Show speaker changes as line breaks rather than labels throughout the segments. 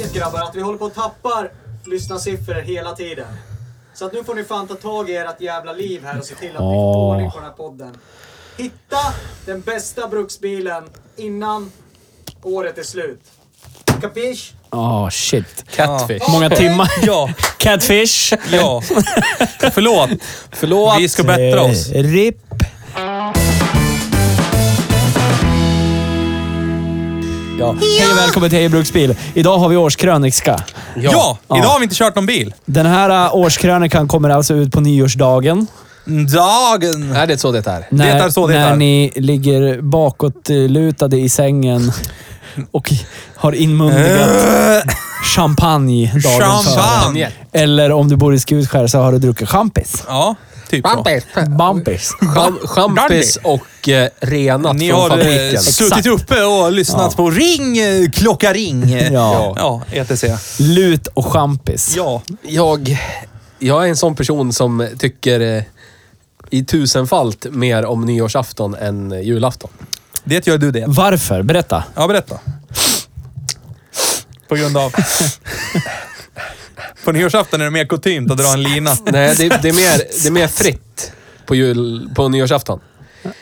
vet grabbar att vi håller på att tappa lyssnarsiffror hela tiden. Så att nu får ni fan ta tag i ert jävla liv här och se till att ni får
Åh.
ordning på den här podden. Hitta den bästa bruksbilen innan året är slut. Capiche?
Ah shit.
Catfish.
Hur många timmar?
Ja,
Catfish.
ja. Förlåt. Förlåt. Vi ska bättra oss.
Eh, RIP. Ja. Hej och välkommen till Hej Bruksbil. Idag har vi årskrönika.
Ja, idag har vi inte kört någon bil.
Den här eh, årskrönikan kommer alltså ut på nyårsdagen.
Dagen!
Är det så det är?
När,
är så det
när
är.
ni ligger bakåtlutade i sängen och har inmundigat
Eh.
champagne dagen före.
Champagne!
Eller om du bor i Skutskär så har du druckit champis.
Ja, typ så.
Champis.
Bumpis.
Cham- Champis och eh, renat
Ni
från
har
fabriken.
eh, suttit uppe och lyssnat på ring, eh, klocka ring.
Ja.
ja E ETC.
Lut och champis.
Ja.
Jag, jag är en sån person som tycker eh, i tusenfalt mer om nyårsafton än eh, julafton.
Det gör du det.
Varför? Berätta.
Ja, berätta. På grund av... På nyårsafton är det mer kutymt att dra en lina.
Nej, det, det, är, mer, det är mer fritt på, jul, på nyårsafton.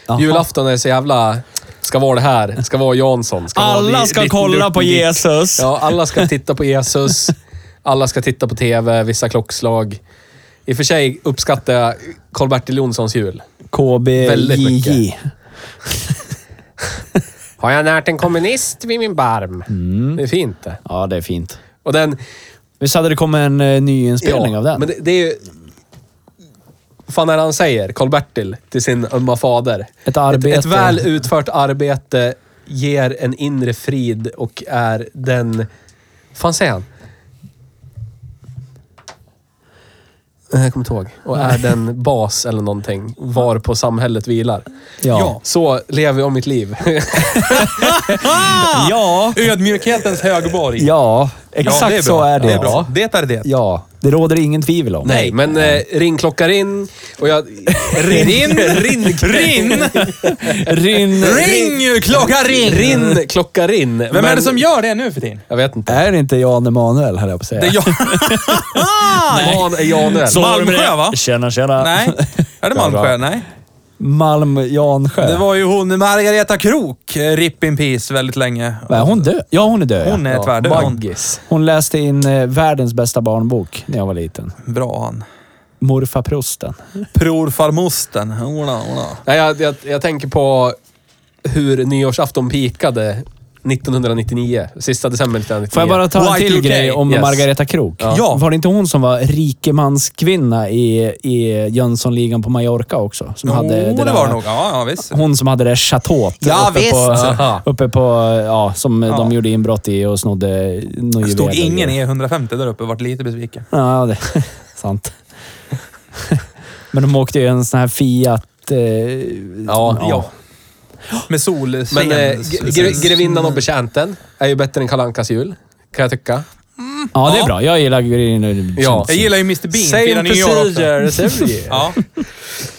Jaha.
Julafton är så jävla... Ska vara det här, ska vara Jansson. Ska vara
Alla
li-
ska
liten
kolla
Lucky
på
Dick.
Jesus.
Ja, alla ska titta på Jesus. Alla ska titta på TV, vissa klockslag. I och för sig uppskattar jag Karl-Bertil Jonssons jul. Väldigt
KBJJ.
mycket. Har jag närt en kommunist vid min barm? Det är fint det.
Ja, det är fint.
Och den...
Visst hade det kommit en eh, ny inspelning av den?
Men det, det är ju... fan är det han säger, Karl-Bertil, till sin ömma fader?
Ett arbete.
Ett, ett väl utfört arbete ger en inre frid och är den... fan säger han? Eh, Jag kommer inte ihåg. Och är den bas eller någonting var på samhället vilar.
Ja.
Så lever jag mitt liv.
Ja.
Ödmjukhetens högborg.
Ja, exakt
Ja, det
så
bra.
är det.
Det är, bra. det, är det.
Ja, det råder ingen tvivel om.
Nej, men eh, ring klockar in och jag... Rin, rin, rin,
Rinn!
Rin...
Ring! Klocka ring!
rin klockar in.
Vem är det som gör det nu för tiden?
Jag vet inte.
Är det inte Jan Emanuel, höll jag på att säga.
Det är jag.
Man är Janel.
Ah, Så- Malmsjö, va?
Tjena, tjena.
Nej. Är det Malmsjö? Nej.
Malm-Jansjö.
Det var ju hon Margareta Krook, eh, RIP in peace, väldigt länge.
Är hon död? Ja, hon är död.
Hon är
ja.
tvärdöd. Hon.
Maggis.
hon läste in eh, världens bästa barnbok när jag var liten.
Bra han.
Morfar Prosten.
Prorfarmosten. Ola, ola.
Nej, jag, jag, jag tänker på hur nyårsafton pikade 1999. Sista december 1999.
Får jag bara ta en
Y2K,
till grej om
yes.
Margareta Krook?
Ja.
Var det inte hon som var rikemanskvinna i, i Jönssonligan på Mallorca också? Som hade
Jo, det
där-
var det nog. Ja, ja visst.
Hon som hade det chateauet
Ja,
uppe,
visst.
på,
Aha.
uppe på... Ja, som de gjorde inbrott i och snodde några
Det stod
juveler.
ingen E150 där uppe och vart lite besviken.
Ja, det sant. Men de åkte ju en sån här Fiat... Eh,
Ja.
Ja. Med sol.
Men eh,
sen-
gre- gre- Grevinnan och betjänten är ju bättre än Kalankas jul. Kan jag tycka.
ja, det
Ja.
är bra. Jag gillar Green
Ja.
Jag gillar ju Mr Bean, firar nyår också.
procedure as every year.
Ja. Jag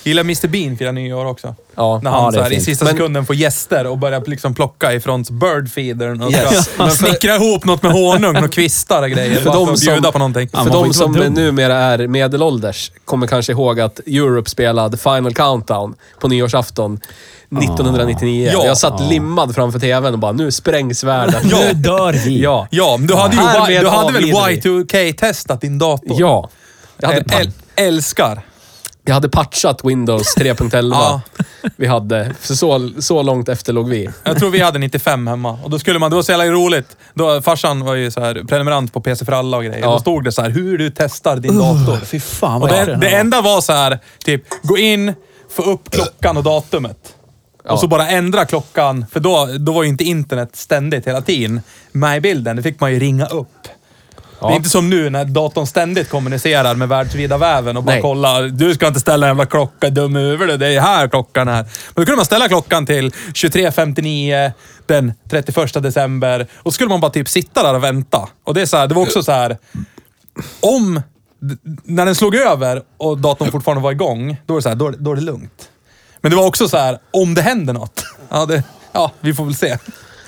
gillar Mr Bean, firar nyår också.
Ja.
När han
Ja, det är
så här, i
fint.
sista
Men-
sekunden får gäster och börjar liksom plocka ifrån birdfeedern och
Yes.
ska
Men för-
snickra ihop något med honung och kvistar och grejer. För,
För
bara för
de
att
som,
bjuda på någonting.
Ja,
för
man får
de
inte vara
som
dum.
numera är medelålders kommer kanske ihåg att Europe spelade Final Countdown på nyårsafton 1999.
Ja.
jag satt limmad framför tvn och bara, nu sprängs världen.
Nu dör vi.
Ja.
Ja, men du hade,
Härmed
ju, du hade väl
avlider vi.
Y2K-testat din dator?
Ja. Jag hade
Äl-
pan-
älskar.
Jag hade patchat Windows 3.11.
Ja.
Vi hade. Så, så, så långt efter låg vi.
Jag tror vi hade 95 hemma. Och då skulle man, det var så jävla roligt. Då, farsan var ju så här, prenumerant på PC för alla och grejer.
Ja.
Då stod det så här, hur du testar din dator.
Fy fan
Och
vad är
det,
det,
det enda var så här, typ, gå in, få upp klockan och datumet.
Ja.
Och så bara ändra klockan, för då, då var ju inte internet ständigt hela tiden. Med i bilden, det fick man ju ringa upp. Det är inte som nu när datorn ständigt kommunicerar med världsvida väven och bara
Nej.
kollar. Du ska inte ställa en jävla klocka, dum huvud du. Det är här klockan är. Men då kunde man ställa klockan till 23.59 den 31 december. Och så skulle man bara typ sitta där och vänta. Och det, är så här, det var också så här om... d- När den slog över och datorn fortfarande var igång, då är det, så här, då, är det- då är det lugnt. Men det var också så här, om det händer något. Ja, det, ja vi får väl se.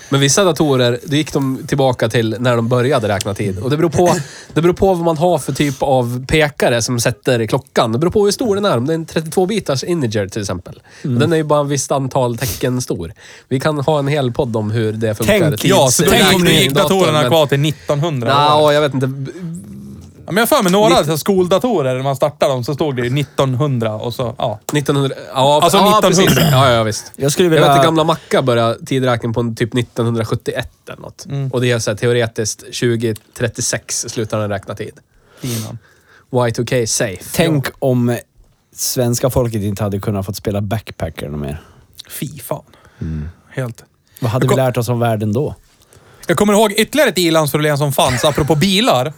Men vissa datorer, då gick de tillbaka till när de började räkna tid. Och det beror, på, det beror på vad man har för typ av pekare som sätter klockan. Det beror på hur stor den är. Om det är en 32-bitars integer till exempel.
Mm.
Den är ju bara en visst antal tecken stor. Vi kan ha en hel podd om hur det funkar.
Tänk,
Tids-
Ja, så
Tänk
tänk
om
om
det
det
räkning i
gick
datorn,
datorerna
men-
kvar till 1900.
Nja, jag vet inte.
Ja, men jag har för mig några så här, skoldatorer, när man startade dem så stod det ju 1900 och så, ja.
1900... Ja,
Alltså
ja,
1900.
precis. Ja, ja, visst.
Jag skulle
Jag
vilja...
vet att gamla Macka började tidräkning på en typ 1971 eller något.
Mm.
Och det är så här, teoretiskt 2036 slutar den räkna tid.
Innan.
Y2K safe.
Tänk om svenska folket inte hade kunnat fått spela backpacker något mer.
Fy fan. Helt.
Vad hade
Jag
vi
kom-
lärt oss om världen då?
Jag kommer ihåg ytterligare ett ilandsproblem som fanns, apropå bilar.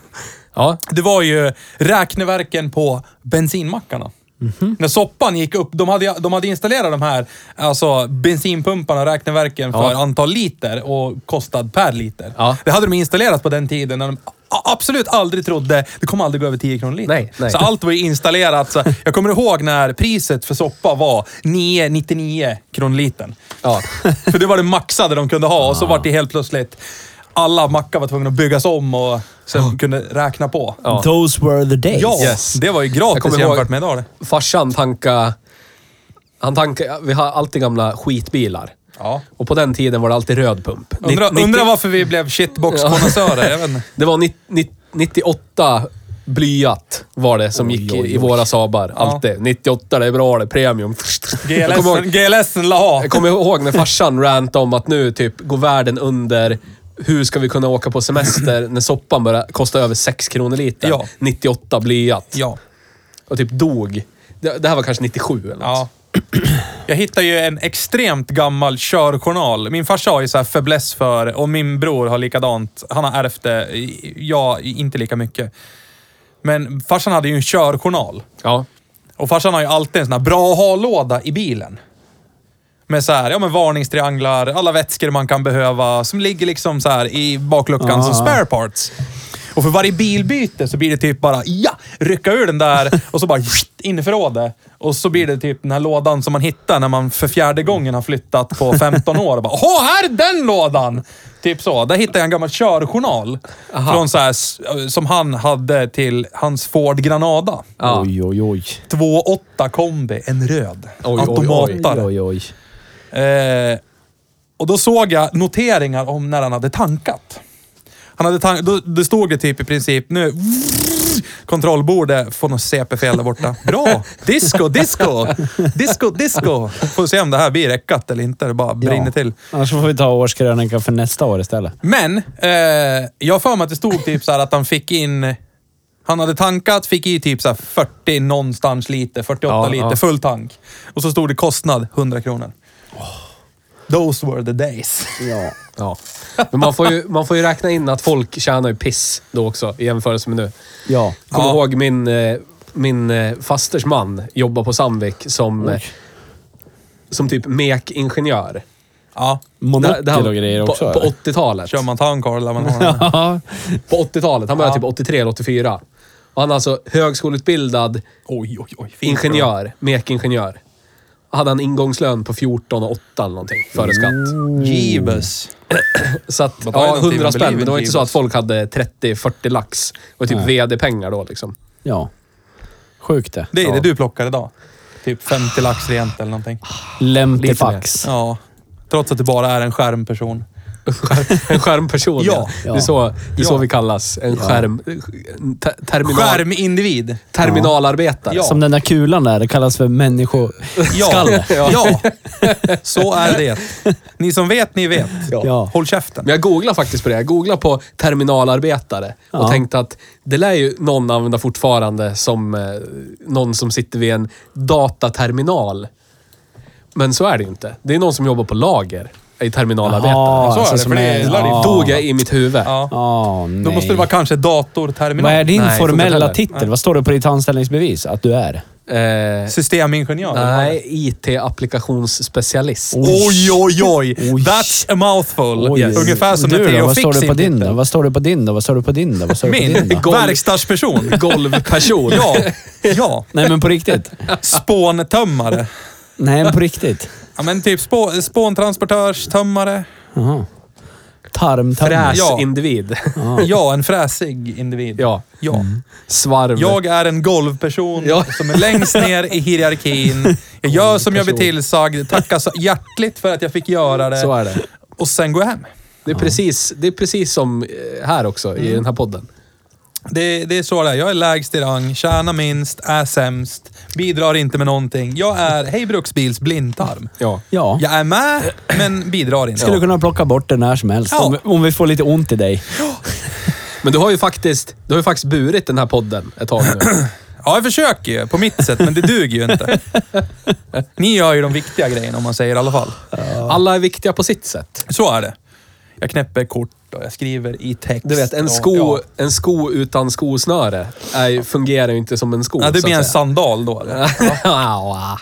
Ja.
Det var ju räkneverken på bensinmackarna.
Mhm.
När soppan gick upp, de hade, de hade installerat de här alltså, bensinpumparna och räkneverken för
Ja.
antal liter och kostnad per liter.
Ja.
Det hade de installerat på den tiden när de a- absolut aldrig trodde det kommer aldrig gå över 10 kronor liter.
Nej, nej.
Så allt var ju installerat. Så jag kommer ihåg när priset för soppa var 9,99 kronor litern.
Ja.
För det var det maxade de kunde ha och
Ah.
så var det helt plötsligt alla mackar var tvungna att byggas om och sen kunde räkna på.
Ah. Ja.
Those were the days.
Ja,
Yes.
det var ju
Jag
gratis
kommer
jämfört
ihåg-
med idag. det.
Farsan tanka Han tankade... Vi har alltid gamla skitbilar.
Ja.
Och på den tiden var det alltid röd pump.
Undra,
Nitt-
undra
nittio-
varför vi blev shitbox-konnässörer. Jag vet inte.
Det var nitt- nitt- 98 blyat var det som gick i, i våra Saabar. Alltid. 98, det är bra det. Premium. Jag kommer ihåg-
GLS, GLS la ha.
Jag kommer ihåg när farsan rantade om att nu typ går världen under. Hur ska vi kunna åka på semester när soppan börjar kosta över 6 kronor liter?
Ja.
98 blyat.
Ja.
Och typ dog. Det, det här var kanske 97 eller något.
ja. Jag hittade ju en extremt gammal körjournal. Min farsa har ju så här fäbless för, och min bror har likadant. Han har ärvt det. Jag, inte lika mycket. Men farsan hade ju en körjournal.
Ja.
Och farsan har ju alltid en sån här bra att ha-låda i bilen. Med så här, ja men varningstrianglar, alla vätskor man kan behöva som ligger liksom så här i bakluckan som spare parts. Och för varje bilbyte så blir det typ bara, ja! Rycka ur den där och så bara in i förrådet. Och så blir det typ den här lådan som man hittar när man för fjärde gången har flyttat på 15 år. Och bara, Åh, här är den lådan! Typ så. Där hittade jag en gammal körjournal. Från så här, s- som han hade till hans Ford Granada.
Ja.
Oj, oj, oj.
2,8 kombi, en röd.
oj,
Automatare.
Oj, oj.
Eh, och då såg jag noteringar om när han hade tankat. Han hade tank då, då stod det typ i princip nu... Kontrollbordet får något CP-fel där borta. Bra! Disco, disco! Disco, disco! Får se om det här blir räckat eller inte. Det bara brinner till.
Annars får vi ta årskrönikan för nästa år istället.
Men, eh, jag har för mig att det stod typ så här att han fick in... Han hade tankat, fick i typ så här 40 någonstans liter, 48
Ja,
liter,
ja.
full tank. Och så stod det kostnad 100 kronor. Those were the days.
Ja.
ja. Men man får, ju, man får ju räkna in att folk tjänar ju piss då också i jämförelse med nu.
Ja.
Jag kommer
Ja.
ihåg min, eh, min eh, fasters man jobbar på Sandvik som, eh, som typ mekingenjör.
Ja,
Monokel
här-
och grejer också.
På, på
eller?
80-talet.
kör man towncar lär man ha den. här.
Ja.
På 80-talet. Han började
Ja.
typ 83 eller 84. Och han är alltså högskoleutbildad
Oj, oj, oj. fint.
ingenjör, mekingenjör. Hade han ingångslön på 14 och 8 eller någonting före
Mm.
skatt.
Jeebus.
Så att,
Vad tar
ja,
det någonting
100
med
spänn.
livet,
Men det var inte så att
givetvis?
folk hade 30-40 lax. Det var typ
Nej.
VD-pengar då liksom.
ja. Sjukt det.
Det är det
Ja.
du plockar idag. Typ 50 Alltså. lax rent eller någonting.
Lemtefax.
Ja. Trots att det bara är en skärmperson.
En skärmperson, ja. Det är så, det är så
Ja.
vi kallas. En skärm... en te- Terminal,
Skärmindivid.
Terminalarbetare.
Ja.
Som den där kulan där, det kallas för människoskalle.
Ja. ja, så är det. Ni som vet, ni vet.
Ja.
Håll käften.
Men jag googlade faktiskt på det. Jag googlade på terminalarbetare och
Ja.
tänkte att det lär ju någon använda fortfarande som eh, någon som sitter vid en dataterminal. Men så är det ju inte. Det är någon som jobbar på lager i terminalarbetare.
Ja,
så är
alltså,
det,
som
för det
är-
lär det ju
ja.
Dog jag i mitt huvud.
Ja.
Ja, Ah, nej.
Då måste det vara kanske datorterminal.
Vad är din
Nej, funkar inte
formella
heller.
titel? Vad står det på ditt anställningsbevis att du är?
Eh,
Systemingenjör.
nej, IT-applikationsspecialist.
Oj, oj, oj.
Oj.
That's a mouthful.
Oj.
Yes. Ungefär som när
du då,
Theo
vad
fick
står det
sin
på din
titel.
då? Vad står det på din då? Vad står det på din då? Vad står det på din
Min?
då?
Golv-
Verkstadsperson.
Golvperson.
Ja. ja.
Nej, men på riktigt.
Spåntömmare.
Nej, men på riktigt.
Ja, men typ spå, spåntransportörstömmare.
Jaha. Tarmtömmare.
Fräsindivid.
Ja, en fräsig individ.
Ja.
Ja.
Svarv.
Jag är en golvperson
Ja.
som är längst ner i hierarkin. Jag gör som jag blir tillsagd, tackar så hjärtligt för att jag fick göra det.
Så är det.
Och sen går jag hem.
Det är, precis, det är precis som eh, här också,
Mm.
i den här podden.
Det, det är så det är. Jag är lägst i rang, tjänar minst, är sämst, bidrar inte med någonting. Jag är, hej bruksbils blindtarm.
Ja.
Ja.
Jag är med, men bidrar inte.
Skulle kunna plocka bort den när som helst.
Ja.
Om, vi- om vi får lite ont i dig.
Men du har ju faktiskt, du har ju faktiskt burit den här podden ett tag nu.
Ja, jag försöker ju på mitt sätt, men det duger ju inte. Ni gör ju de viktiga grejerna om man säger i alla fall.
Alla är viktiga på sitt sätt.
Så är det. Jag knäpper kort och jag skriver i text.
Du vet, en
och-
sko,
Ja.
en sko utan skosnöre är, ju- fungerar ju inte som en sko.
Ja, det
så
blir
att
en
säga.
sandal då eller?
Ja.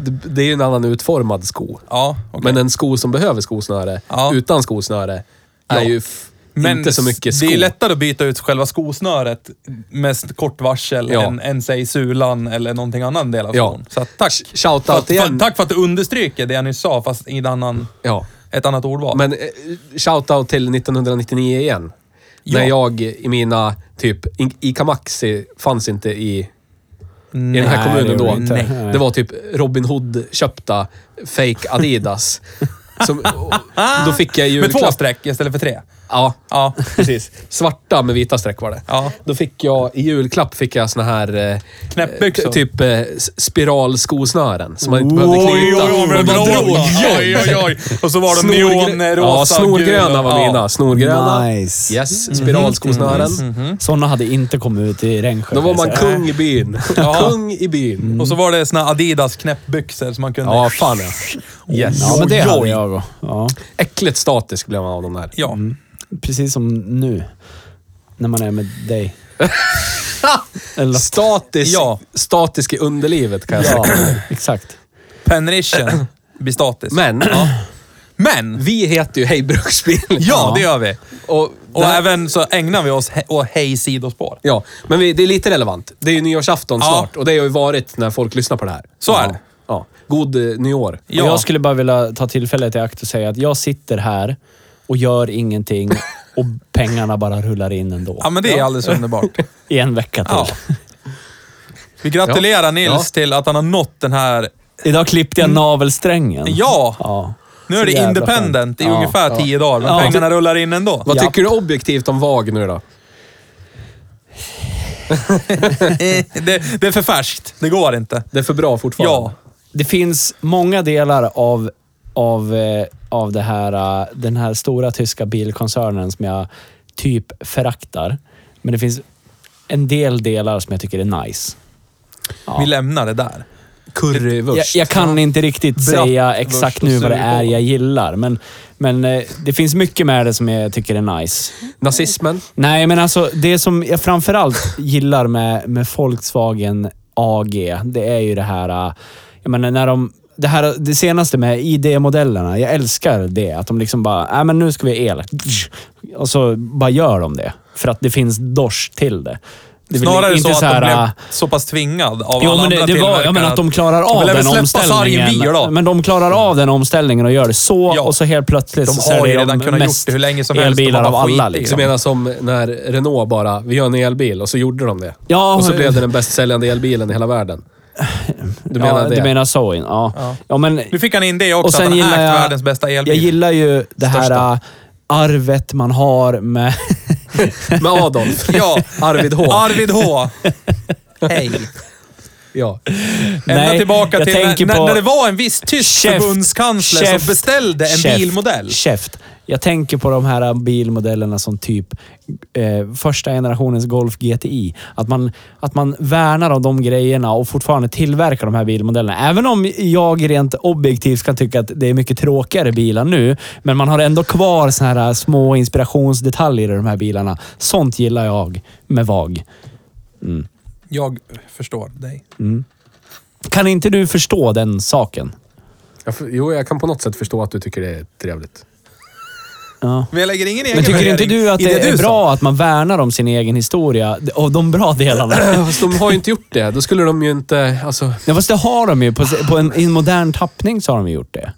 Det- Det är ju en annan utformad sko.
Ja, okej.
Men en sko som behöver skosnöre,
Ja.
utan skosnöre, är
Ja.
ju f-
Men
eh, inte så mycket sko.
Det är ju lättare att byta ut själva skosnöret med s- kort varsel
Ja.
än, än säg sulan eller någonting annan del av
Ja.
skon. Så att, tack.
Sh- shout
För
out
att, för,
igen.
att- tack för att du understryker det jag nyss sa, fast i en annan,
Ja.
ett annat ordval.
Men eh, shout-out till 1999 igen.
Ja.
När jag i mina, typ, I- Ica Maxi fanns inte i, i den här
Nej, det
kommunen
gjorde
då.
det inte. Nej.
Det var typ Robin Hood-köpta fake Adidas. Som, och då fick jag ju...
med två streck istället för tre.
Ja,
Ja,
precis. Svarta med vita streck var det.
Ja.
Då fick jag, i julklapp fick jag såna här... eh,
Knäppbyxor.
t- Typ eh, s- spiralskosnören som man inte behövde knyta.
men
Man
bra.
drog
Oj, oj, oj. Och så var de neonrosa.
Ja, snorgröna var
gula.
mina. Snorgröna.
Nice.
Mhm.
Yes, spiralskosnören.
Sådana Mm. hade inte kommit ut i Rensjö.
Då var man
Så-
kung i byn.
Ja.
Kung i byn.
Ja. Och så var det såna Adidas knäppbyxor som man kunde...
Ja, fan ja. Yes.
Ja, men det
Oj,
hade
oj.
jag. och- Ja.
Äckligt statisk blev man av de där.
Ja.
Precis som nu. När man är med dig. Eller
Statisk,
Ja.
statisk i underlivet kan jag säga.
Ja, exakt.
Penrishen blir statisk.
Men
Men!
vi heter ju Hej Bruksbil.
Ja, det gör vi.
Och,
Och
det här-
även så ägnar vi oss he- åt hej sidospår.
Ja, men vi, det är lite relevant. Det är ju nyårsafton
Ja.
snart och det har ju varit när folk lyssnar på det här.
Så är
Ja.
det.
Ja. God eh, nyår.
Ja.
Och Jag skulle bara vilja ta tillfället i akt och säga att jag sitter här och gör ingenting och pengarna bara rullar in ändå.
Ja, men det är alldeles underbart.
I en vecka till.
Ja. Vi gratulerar
Ja.
Nils
Ja.
till att han har nått den här...
Idag klippte jag navelsträngen.
Mm. Ja!
Mm. ja.
Nu är
Så
det
jävla
independent i
skönt. Ja.
ungefär tio dagar, men
Ja.
pengarna rullar in ändå.
Vad
Ja.
tycker du objektivt om VAG nu då?
Det, det är för färskt. Det går inte.
Det är för bra fortfarande.
Ja.
Det finns många delar av, av, eh, av det här, eh, den här stora tyska bilkoncernen som jag typ föraktar. Men det finns en del delar som jag tycker är nice. Ja.
Vi lämnar det där.
Jag,
Currywurst.
jag kan inte riktigt säga exakt nu vad det är
surkål.
jag gillar, men, men eh, det finns mycket med det som jag tycker är nice.
Nazismen.
Nej, men alltså det som jag framförallt gillar med, med Volkswagen AG, det är ju det här... äh, Jag menar, när de... Det, här, det senaste med ID-modellerna, jag älskar det. Att de liksom bara, äh, men nu ska vi ha el. Och så bara gör de det. För att det finns Dosh till det. det är väl
Snarare så att
här,
de
äh,
blev så pass tvingad av
Jo,
alla
men
andra
det, det var,
tillverkare
ja, men att de klarar av
vill även
den
släppa
omställningen.
sargen bilar då.
Men de klarar av den omställningen och gör det så
Ja.
och så helt plötsligt
De
så
har
är
ju
det
redan
de
kunnat gjort
mest
det hur länge som helst.
elbilar
De har
av
bara
alla.
skit i
Du
Liksom.
menar som när Renault bara, vi gör en elbil och så gjorde de det.
Ja,
Och så blev det den bäst säljande elbilen i hela världen. Du menar
ja,
det?
Du menar så? in- Ja.
Ja.
Ja. men,
Nu fick han in det också,
och sen
att han ägt
gillar jag,
världens bästa elbil.
jag gillar ju det här
Största.
äh, arvet man har med...
Med Adolf.
Ja.
Arvid H.
Arvid H. Hej.
ja.
Ända
Nej,
tillbaka
jag
till när,
tänker
när,
på-
när det var en viss tysk förbundskansler som
käft,
beställde en
käft,
bilmodell.
Käft. Jag tänker på de här bilmodellerna som typ eh, första generationens Golf GTI. Att man, att man värnar om de grejerna och fortfarande tillverkar de här bilmodellerna. Även om jag rent objektivt kan tycka att det är mycket tråkigare bilar nu, men man har ändå kvar såna här eh, små inspirationsdetaljer i de här bilarna. Sånt gillar jag med VAG.
Jag förstår dig.
Kan inte du förstå den saken?
Jag, för- jo, jag kan på något sätt förstå att du tycker det är trevligt.
Ja.
Men jag lägger ingen egen
Men tycker inte
värdering
du att
i
det, är
du sa.
bra att man värnar om sin egen historia och de bra delarna?
Fast de har ju inte gjort det. Då skulle de ju inte... Alltså,
Ja, fast det har de ju. På, på en, i en modern tappning så har de ju gjort det.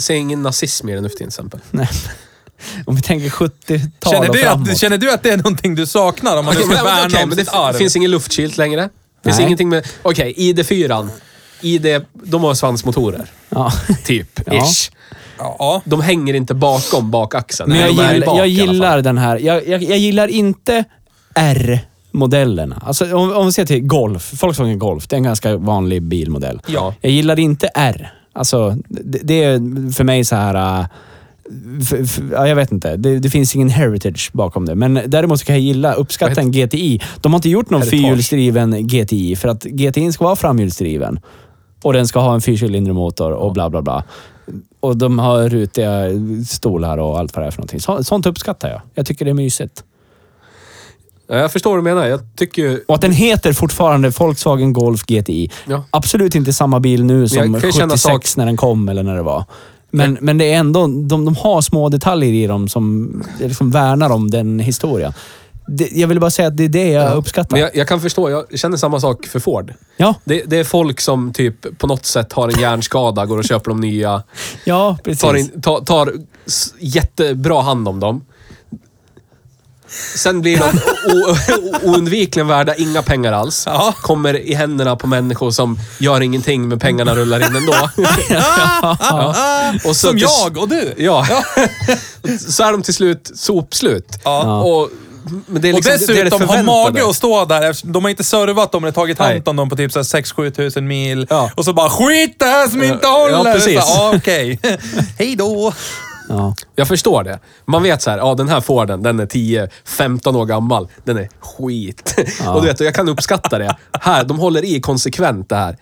säg ingen nazism i den nu för tiden, till exempel.
Om vi tänker 70-tal
Känner
och
du,
framåt.
att, känner du att det är någonting du saknar om man nu
Okej,
ska
men,
värna
okej,
om
men det
sitt arv?
finns ingen luftkylt längre. finns
Nej.
ingenting med... Okej, ID4. ID, de har svansmotorer.
ja.
Typ.
Ja.
Ish.
Ja.
De hänger inte bakom bakaxeln.
Men jag,
de är
gillar,
bak i alla
jag
fall.
gillar den här. Jag, jag, jag gillar inte R-modellerna. Alltså om, om vi ser till Golf. Volkswagen Golf. Det är en ganska vanlig bilmodell.
Ja.
Jag gillar inte R. Alltså, det, det är för mig så här... äh, f- f- ja, jag vet inte. Det, det finns ingen heritage bakom det. Men däremot så kan jag gilla, uppskatta en GTI. De har inte gjort någon
Heritage.
fyrhjulsdriven GTI för att GTI ska vara framhjulsdriven. Och den ska ha en fyrcylindrig motor och bla bla bla. Och de har rutiga stolar och allt vad det är för någonting. Så, sånt uppskattar jag. Jag tycker det är mysigt.
Ja, Jag förstår vad du menar. Jag tycker ju...
Och att den heter fortfarande Volkswagen Golf GTI.
Ja.
Absolut inte samma bil nu
jag
som
kan ju känna
76
sak-
när den kom eller när det var. Men, men det är ändå, de, de har små detaljer i dem som liksom värnar om den historien. Det, jag vill bara säga att det är det jag uppskattar.
Men jag, jag kan förstå. Jag känner samma sak för Ford.
Ja,
Det, det är folk som typ på något sätt har en hjärnskada, går och köper de nya.
ja precis.
Tar, in, tar, tar s- jättebra hand om dem. Sen blir de o- o- oundvikligen värda inga pengar alls.
Ja.
Kommer i händerna på människor som gör ingenting, men pengarna rullar in ändå.
Ah,
ja. och så
Som
till-
jag och du.
Ja. så är de till slut sopslut.
Ja.
Och, men det är
Och
liksom, det- det är det
dessutom har
förväntade.
mage att stå där. eftersom De har inte servat dem eller tagit
Nej.
hand om dem på typ 6-7 tusen mil.
Ja.
Och så bara skit det här som inte
Ja,
håller!
precis.
Så här, ah, Okej. Hej då!
Ja.
Jag förstår det. Man vet så här, ja den här Forden, den är 10-15 år gammal. Den är skit. Och du vet, jag kan uppskatta det. Här, de håller i konsekvent det här.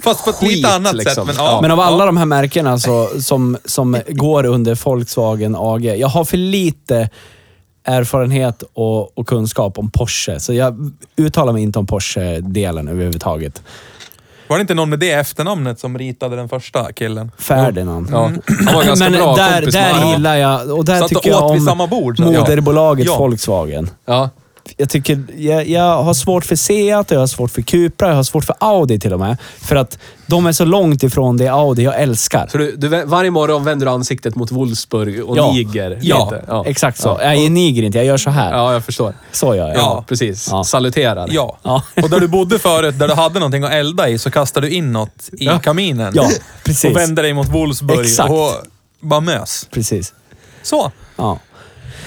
Fast på ett
Skit,
lite annat
liksom.
sätt. Men, ja.
Men av alla de här märkena så, som, som går under Volkswagen AG, jag har för lite erfarenhet och, och kunskap om Porsche, så jag uttalar mig inte om Porsche-delen överhuvudtaget.
Var det inte någon med det efternamnet som ritade den första killen?
Ferdinand.
Ja. Han var ganska
Men
bra
där,
kompis med
där
honom.
gillar jag, och där
Satt och
tycker jag
åt vid
om
samma bord, så.
moderbolaget
Ja. Ja.
Volkswagen.
Ja.
Jag, tycker, jag, jag har svårt för Seat, och jag har svårt för Cupra, jag har svårt för Audi till och med. För att de är så långt ifrån det Audi jag älskar.
Så du, du, vä- varje morgon vänder du ansiktet mot Wolfsburg och Niger.
Ja,
lite.
exakt så. Jag niger inte, jag gör så här.
Ja, jag förstår.
Så gör jag.
Ja, precis.
Ja.
Saluterar.
Ja.
Ja.
Och där du bodde förut, där du hade någonting att elda i, så kastade du in något i kaminen.
Ja, precis.
Och vände dig mot Wolfsburg
Exakt.
och bara mös.
Precis.
Så.
Ja.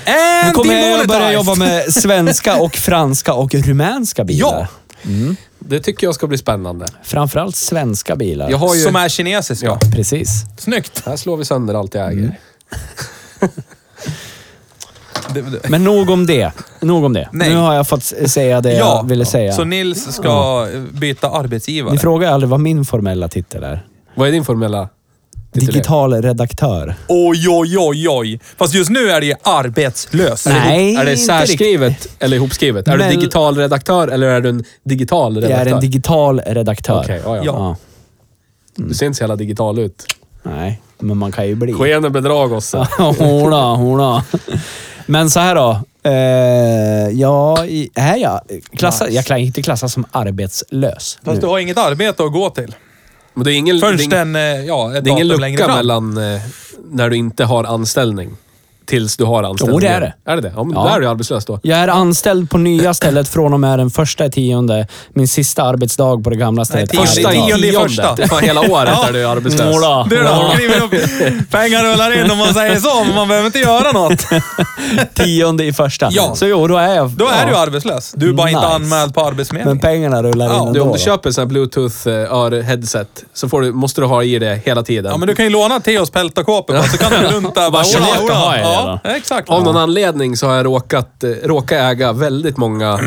Nu
And
kommer jag
demonetized.
börja jobba med svenska och franska och rumänska bilar.
Ja.
Det tycker jag ska bli spännande.
Framförallt svenska bilar.
Jag har ju...
Som är kinesiska.
Ja.
Precis.
Snyggt!
Här slår vi sönder allt jag äger.
Det- det-
Men nog om det. Nog om det.
Nej.
Nu har jag fått säga det jag ville säga.
Så
ni...
Nils ska byta arbetsgivare.
frågar aldrig vad min formella titel är.
Vad är din formella? titel?
Digital redaktör.
Oj, oj, oj, oj. Fast just nu är det ju arbetslös.
Nej,
Är
inte
det
riktigt.
särskrivet eller ihopskrivet? Är
Men-
du digital redaktör eller är du en digital
Jag
redaktör?
är en digital redaktör.
Okej, ja, ja.
Ja.
Du ser inte så jävla digital ut.
Nej, men man kan ju bli.
Skenet bedrag oss.
Hona, hona. Men så här då. Eh, ja, i- är jag klassad? Jag kan inte klassas som arbetslös.
Fast du har inget arbete att gå till.
Men det är ingen, det är
Först en,
ingen,
eh, ja, ett
det är ingen
datum längre
lucka
fram.
mellan eh, när du inte har anställning tills du har anställning.
Jo, det är det.
Är det det? Ja, men
Ja.
då är du arbetslös då.
Jag är anställd på nya stället från och med den första i tionde. Min sista arbetsdag på det gamla stället.
Nej,
Första
tionde.
i-
Tionde i första.
Fan, hela året är du arbetslös.
Nåla.
Du då, kliver upp. Pengar rullar in om man säger så, men man behöver inte göra något.
tionde i första.
Ja.
Så jo, då är jag...
Då är
ja.
du arbetslös. Du är bara inte
Nice.
anmäld på Arbetsförmedlingen.
Men pengarna rullar in
Ja,
ändå.
Du, om
då.
du köper sån här bluetooth-headset så får du, måste du ha i det hela tiden.
Ja, men du kan ju låna Theos peltakåpor bara, så kan du runt där. Bara,
Varsin
"Ola,
jag ska
ola."
ha i det
ja, exakt.
Av någon anledning så har jag råkat, eh, råkat äga väldigt många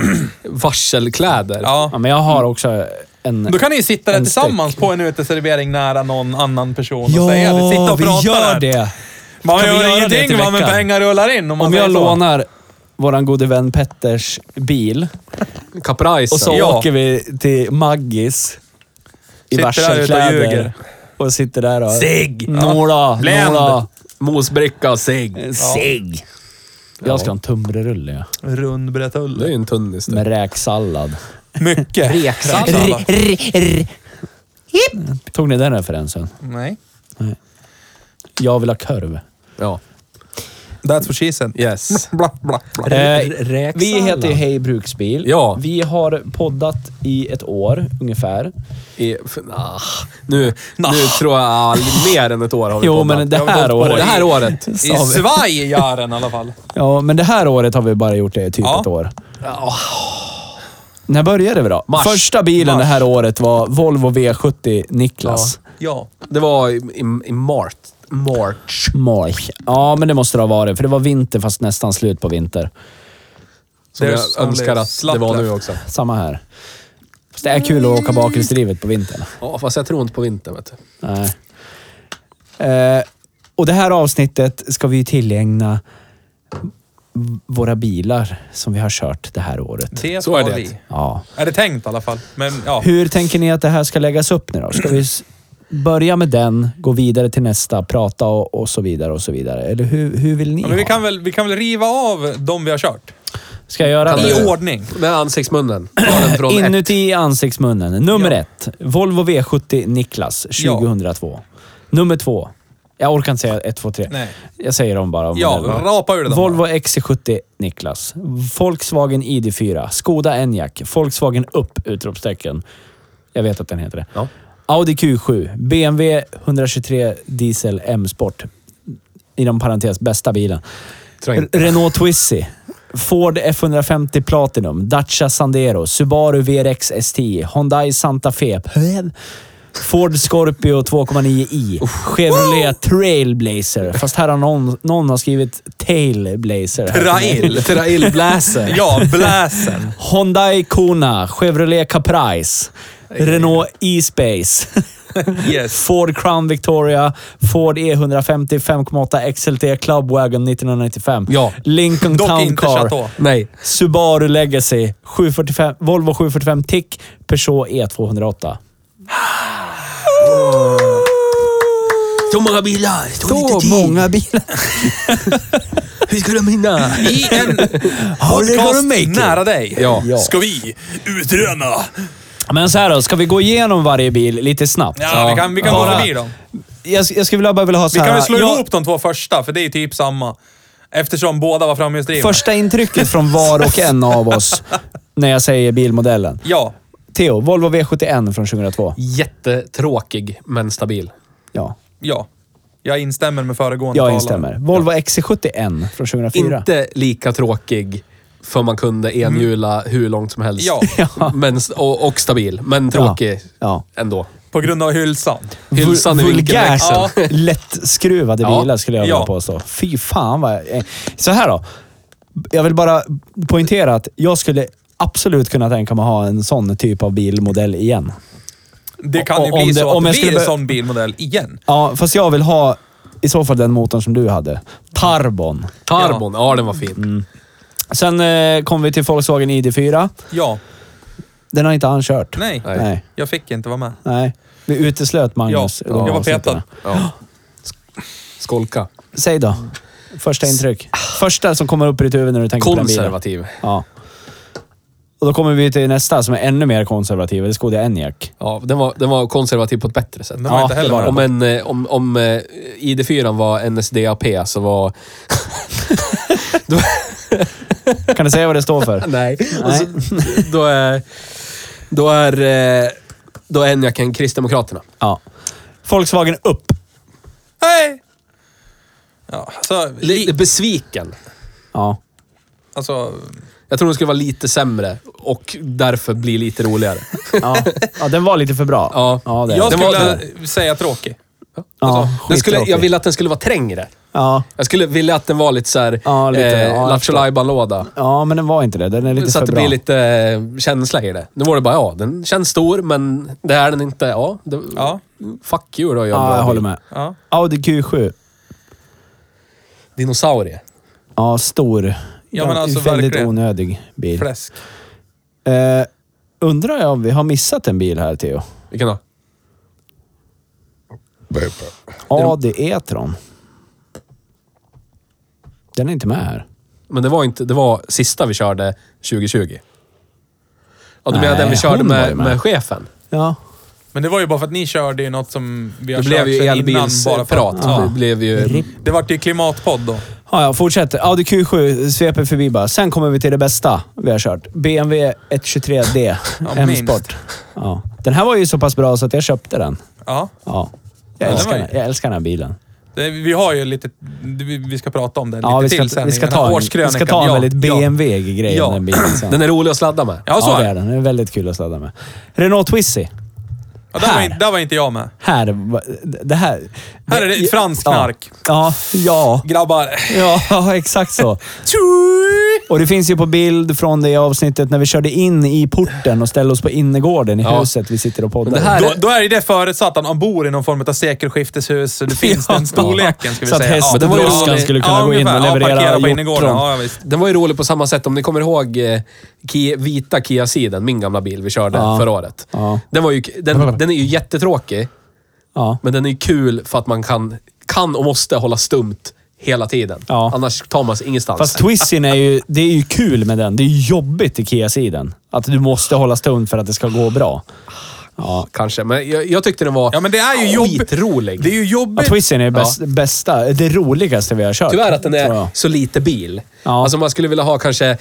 varselkläder.
Ja,
Ja.
men jag har också en...
Då kan ni ju sitta där
En
tillsammans på en uteservering nära någon annan person och säga det. Sitta och prata
vi
där.
gör det.
Man
Kan vi
gör
göra det
ingenting,
till
va, men
veckan?
pengar rullar in. Om, man
Om
säger
jag
så.
lånar våran gode vän Petters bil
Kaprajsen.
och så
Ja.
åker vi till Maggis i
Sitter där ute och
varselkläder
ljuger.
och sitter där och...
Sig!
Nåla,
Bländ.
nåla.
Mosbricka och cigg.
Sig! Jag ska ha en tunnbrödsrulle ja.
Rund
Det är
bretull.
ju en tunnis det.
med räksallad.
Mycket. Reksallad.
Tog ni den referensen?
Nej.
Jag vill ha korv.
Ja.
That's what she said.
Yes.
Bla, bla, bla.
Eh,
räksallad.
vi heter ju Hej Bruksbil.
Ja.
Vi har poddat i ett år ungefär.
I, f- ah, nu, nu tror jag ah, mer än ett år har vi
Jo,
poddat.
men det
Jag har
här
gått på
året-
Det här året.
I svaj gör den i alla fall.
Ja, men det här året har vi bara gjort det i typ
Ja.
ett år. När började vi då?
Mars.
Första bilen det här året var Volvo V70 Niklas.
Ja.
Det var i, i, i mart. March.
March. Ja, men det måste det ha varit, för det var vinter fast nästan slut på vinter.
Som
There's only
jag önskar att det
slap
var nu
left.
också.
Samma här. Fast det är kul att åka bakhjulsdrivet på vintern.
Ja, fast jag tror inte på vintern vet du.
Nej. Eh, och det här avsnittet ska vi ju tillägna v- våra bilar som vi har kört det här året.
Det
Så är
var
det.
vi.
Ja.
Är det tänkt i alla fall. Men ja.
Hur tänker ni att det här ska läggas upp nu då? Ska vi s- börja med den, gå vidare till nästa, prata och, och så vidare och så vidare? Eller hur, hur vill ni
Ja, men vi,
ha?
kan väl, vi kan väl riva av de vi har kört?
Ska jag göra
Kan
I
du-
det?
ordning.
Med ansiktsmunnen. Ta den från ett.
Inuti ansiktsmunnen. Nummer
Ja.
ett. Volvo V70 Niklas
Ja.
2002. Nummer två. Jag orkar inte säga ett, två, tre.
Nej.
Jag säger dem bara. om
Ja,
modellerna.
rapa ur det då.
Volvo XC70 Niklas. Volkswagen ID4. Skoda Enyaq. Volkswagen upp! Utropstecken. Jag vet att den heter det.
Ja.
Audi Q7. BMW 123 Diesel M-sport. Inom parentes, bästa bilen.
Tror jag inte.
R- Renault Twizy. Ford F150 Platinum, Dacia Sandero, Subaru VRX ST, Hyundai Santa Fe, Ford Scorpio 2,9i, Chevrolet Trailblazer. Fast här har någon, någon har skrivit Tailblazer. här.
Trail.
Trail Blazer.
Ja, bläsen.
Hyundai Kona, Chevrolet Caprice, Renault E-Space,
Yes.
Ford Crown Victoria, Ford E150 5,8 XLT Club Wagon 1995,
Ja.
Lincoln
Dock
Town
inte
Car.
Chateau.
Nej.
Subaru Legacy, 745, Volvo 745 Tick, Peugeot E E208.
Så många bilar.
Så många bilar.
Hur ska de hinna?
I en
gonna
podcast
make it.
nära dig
Ja.
Ja.
ska vi utröna.
Men så här då, ska vi gå igenom varje bil lite snabbt?
Ja, vi kan, vi kan gå
Bara-
förbi dem.
Jag, jag skulle vilja- bara vilja ha så
Vi
här...
kan väl slå
jag-
ihop de två första, för det är typ samma. Eftersom båda var framhjulsdrivna.
Första intrycket från var och en av oss när jag säger bilmodellen.
Ja.
Theo, Volvo V71 från 2002.
Jättetråkig, men stabil.
Ja,
Ja. Jag instämmer med föregående
jag
talare.
instämmer. Volvo XC71 från 2004.
Inte lika tråkig, för man kunde enhjula hur långt som helst.
Ja.
Men, och, och stabil, men tråkig
Ja.
ändå.
På grund av hylsan.
Hylsan i
Vul- vulgärt
vinkelväxeln.
Ja.
lättskruvade
Ja.
bilar skulle jag vilja
Ja.
påstå. Fy fan vad... eh, Så här då. Jag vill bara poängtera att jag skulle absolut kunna tänka mig att ha en sån typ av bilmodell igen.
Det kan ju
Och- om
bli
det-
så att
om
det
jag
blir
skulle
en
bör-
sån bilmodell igen.
Ja, fast jag vill ha i så fall den motorn som du hade. Tarbon.
Tarbon, ja. den var fin.
Mm. Sen eh, kom vi till Volkswagen ID4.
Ja.
Den har inte han kört.
Nej.
Nej.
Nej.
Jag fick inte vara med.
Nej. Vi uteslöt Magnus.
Ja, jag var petad.
Ja. Skolka.
Säg då. Första intryck. Första som kommer upp i ditt huvud när du tänker på den bilen.
Konservativ.
Ja. Och Och då kommer vi till nästa som är ännu mer konservativ. Det är Skoda Enyaq.
Ja, den var, den var konservativ på ett bättre sätt.
Den var
Ja,
inte heller
det var
bra.
Om, en, eh, om, om eh, ID4 var NSDAP så var...
Kan du säga vad det står för?
Nej. Alltså, då är... Då är... eh, Då är Enyaq en Kristdemokraterna.
Ja. Volkswagen upp.
Hej! Ja, alltså,
Lite besviken.
Ja.
alltså,
Jag tror den skulle vara lite sämre och därför bli lite roligare.
Ja. ja, den var lite för bra.
Ja.
ja det är
jag
den.
skulle
var-
säga tråkig.
Ja,
Den skulle, jag
skittråkig.
ville att den skulle vara trängre.
Ja.
Jag skulle vilja att den var lite såhär...
Ja, lite, ja, jag
Lattjo
förstår.
låda
ja, men den var inte det. Den är lite
Så
för
att det
bra.
blir lite eh, känsla i det. Nu var det bara, ja, den känns stor, men det är den inte. Ja, det,
Ja.
fuck you då.
Ja, jag håller med.
Ja.
Audi Q7.
Dinosaurie.
Ja, stor.
Ja, men alltså
Väldigt
verkligen.
onödig bil.
Fläsk.
Eh, undrar jag om vi har missat en bil här, Theo?
Vilken då?
Audi E-tron. Den är inte med här.
Men det var inte... Det var sista vi körde 2020. Ja, du menar
Nej,
den vi körde
hon var ju
med,
med.
med chefen?
Ja.
Men det var ju bara för att ni körde ju något som vi har
Det blev
kört
ju
sedan innan bara för
elbilsprat.
att-
Ja. Det blev ju...
Det vart ju klimatpodd då.
Ja, ja, fortsätt. Audi Q7 sveper förbi bara. Sen kommer vi till det bästa vi har kört. BMW 123D M-sport. Ja. Den här var ju så pass bra så att jag köpte den.
Ja.
Ja. Jag,
Ja,
älskar,
den var
den, jag älskar den här bilen.
Det, vi har ju lite... Vi vi ska prata om det lite
Ja, vi
till
ska,
sen.
vi
i
ska
den här
ta en, vi
årskrönikan.
ska ta en
Ja,
väldigt BMW-grej
Ja.
den bilen sen.
Den är rolig att sladda med.
Ja, ja så
ja, det
är
är
det.
den. Den är väldigt kul att sladda med. Renault Twizy.
Ja, där, var
Här.
inte, där var inte jag med.
Här. var- Det här.
Här är det ett franskt knark.
Ja. Ja.
Grabbar.
Ja, ja, exakt så. Och det finns ju på bild från det avsnittet när vi körde in i porten och ställde oss på innergården i
Ja.
huset vi sitter och poddar.
Men det här-
i.
Då, då är ju det förutsatt att han bor i någon form av sekelskifteshus. så Det finns den storleken, ska vi
Så att
säga.
hästen
det var ju
Droskan
roligt.
skulle kunna gå in och
ungefär.
leverera
Ja, parkera på
hjortron.
innergården. Ja, visst.
Den var ju rolig på samma sätt, om ni kommer ihåg eh, Kia, vita Kia Siden, min gamla bil vi körde
Ja.
förra året.
Ja.
Den, var ju, den, den är ju jättetråkig,
Ja.
men den är ju kul för att man kan, kan och måste hålla stumt hela tiden.
Ja.
Annars tar man sig ingenstans.
Fast twisten är ju, det är ju kul med den. Det är ju jobbigt i Kia-sidan. Att du måste hålla stund för att det ska gå bra.
ja, kanske. Men jag, jag tyckte den var
Ja, men det är ju jobbigt.
skitrolig.
Det är ju
Ja,
jobbigt.
twisten är bäst, bästa, det roligaste vi har kört.
Tyvärr att den
tror jag.
är så lite bil.
Ja.
Alltså man skulle vilja ha kanske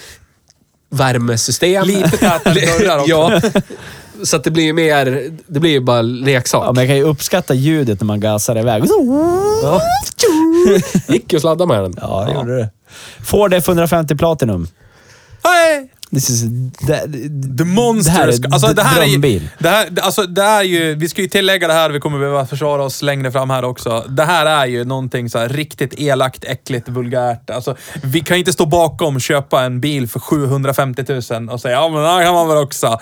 värmesystem.
Lite tätare dörrar också.
ja. Så att det blir ju mer... Det blir ju bara leksak.
Ja, men jag kan ju uppskatta ljudet när man gasar iväg.
Ja. Gick ju att sladda med den.
Ja, det gjorde det. Ford F150 Platinum.
Hej!
This is... The,
The Monster.
Det här är
Sc- alltså, det här är,
drömbil.
det här, alltså, det är ju, vi ska ju tillägga det här, vi kommer behöva försvara oss längre fram här också. Det här är ju någonting så här riktigt elakt, äckligt, vulgärt. Alltså, vi kan ju inte stå bakom köpa en bil för 750 000 och säga ja men det här kan man väl också.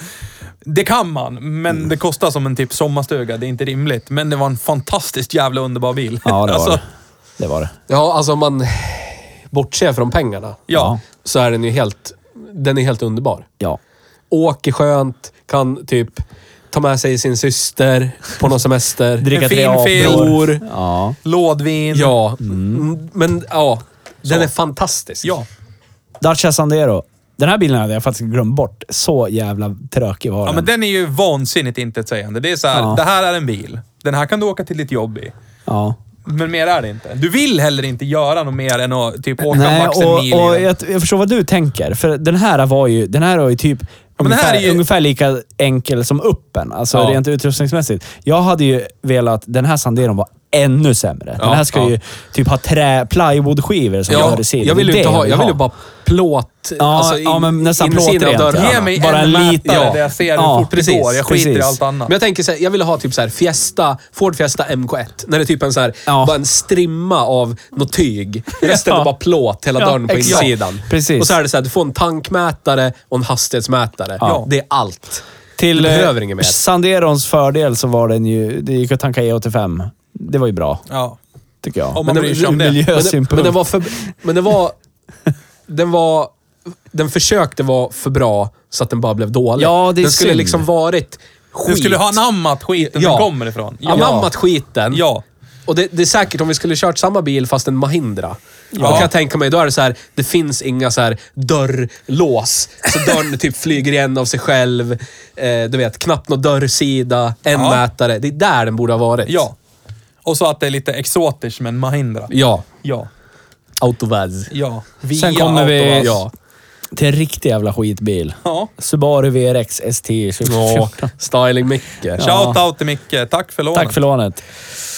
Det kan man, men
Mm.
det kostar som en typ sommarstuga. Det är inte rimligt. Men det var en fantastiskt jävla underbar bil.
ja, det var
Alltså,
det. Det var det.
Ja, alltså om man bortser från pengarna
ja.
så är den ju helt, den är helt underbar.
Ja.
Åker skönt, kan typ ta med sig sin syster på någon semester.
Dricka
En
tre
fin film.
Aperol.
bror.
Ja.
Lådvin.
Ja, Mm, men ja. Den
Så.
är fantastisk.
ja.
Dacia Sandero. Den här bilen hade jag faktiskt glömt bort. Så jävla trökig var
Ja,
den.
men den är ju vansinnigt intetsägande. Det är så här,
Ja.
det här är en bil. Den här kan du åka till ditt jobb i.
Ja.
Men mer är det inte. Du vill heller inte göra något mer än att typ åka
Nej,
max en
och,
mil i
och
den.
jag, jag förstår vad du tänker. För den här var ju, den här var ju typ
men den här
ungefär,
är ju-
ungefär lika enkel som uppen. Alltså
Ja.
rent utrustningsmässigt. Jag hade ju velat... Den här Sanderon var ännu sämre. Den
Ja,
här ska
ja.
ju typ ha trä, plywoodskivor som
Ja,
gör i sidan.
jag vill ju
Det
inte ha... Jag vill ju
ha.
bara plåt... alltså,
Ja,
alltså,
ja, men nästan
insidan
plåtrent,
av dörren.
ja.
Ge mig
Bara
en
en
mätare
liten-
där jag ser hur
Ja,
fort det
precis,
går. Jag skiter i
precis.
allt annat.
Men jag tänker så här, jag vill ha typ så här Fiesta, Ford Fiesta MK1. När det är typ en så här,
Ja.
bara en strimma av något tyg. Resten är
Ja.
bara plåt, hela
Ja,
dörren på
exakt.
insidan.
Precis.
Och så är det så här, du får en tankmätare och en hastighetsmätare.
Ja.
Det är allt.
Till
Du
eh,
behöver inget mer.
Sanderons fördel så var den ju... Det gick att tanka E85. Det var ju bra,
Ja.
tycker jag.
Om man
Men
bryr
det-
sig om det.
miljö-
Men, den-
Synpunkt.
men den var för... Men den var... Den var... Den försökte vara för bra så att den bara blev dålig.
Ja, det är
den skulle
synd.
liksom varit skit.
Du skulle ha anammat skiten
Ja.
den kommer ifrån.
Anammat skiten.
Ja.
Och det, det är säkert om vi skulle kört samma bil fast en Mahindra. Då kan jag tänka mig, då är det så här, det finns inga så här dörrlås. Så dörren typ flyger igen av sig själv. Eh, du vet, knappt någon dörrsida, en
Ja.
mätare. Det är där den borde ha varit.
Ja. Och så att det är lite exotiskt men Mahindra.
Ja.
Ja.
Autovaz.
Ja. Via
Sen kommer vi-
Autobahn.
Ja.
Till en riktig jävla skitbil.
Ja.
Subaru VRX ST 2014.
Ja. Styling mycket.
Shout out till Micke. Tack för lånet.
Tack för lånet.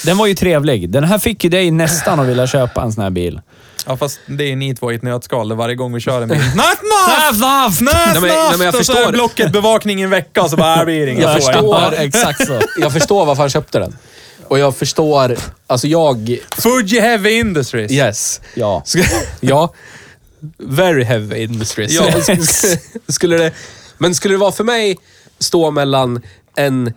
Den var ju trevlig. Den här fick ju dig nästan att vilja köpa en sån här bil.
Ja, fast det är ni två i ett nötskal varje gång vi kör en bil. Nattnaft!
Haft!
Nattnaft!
Nej, men- nej, men jag
Och så är
förstår.
blocket bevakning i en vecka och så bara, här blir det inget.
Jag
Så är det.
förstår.
Ja, exakt så.
Jag förstår varför han köpte den. Och jag förstår, alltså jag...
Fuji Heavy Industries.
Yes.
Ja.
Ska, ja. Very heavy industries.
Ja.
skulle det, men skulle det vara för mig stå mellan, en,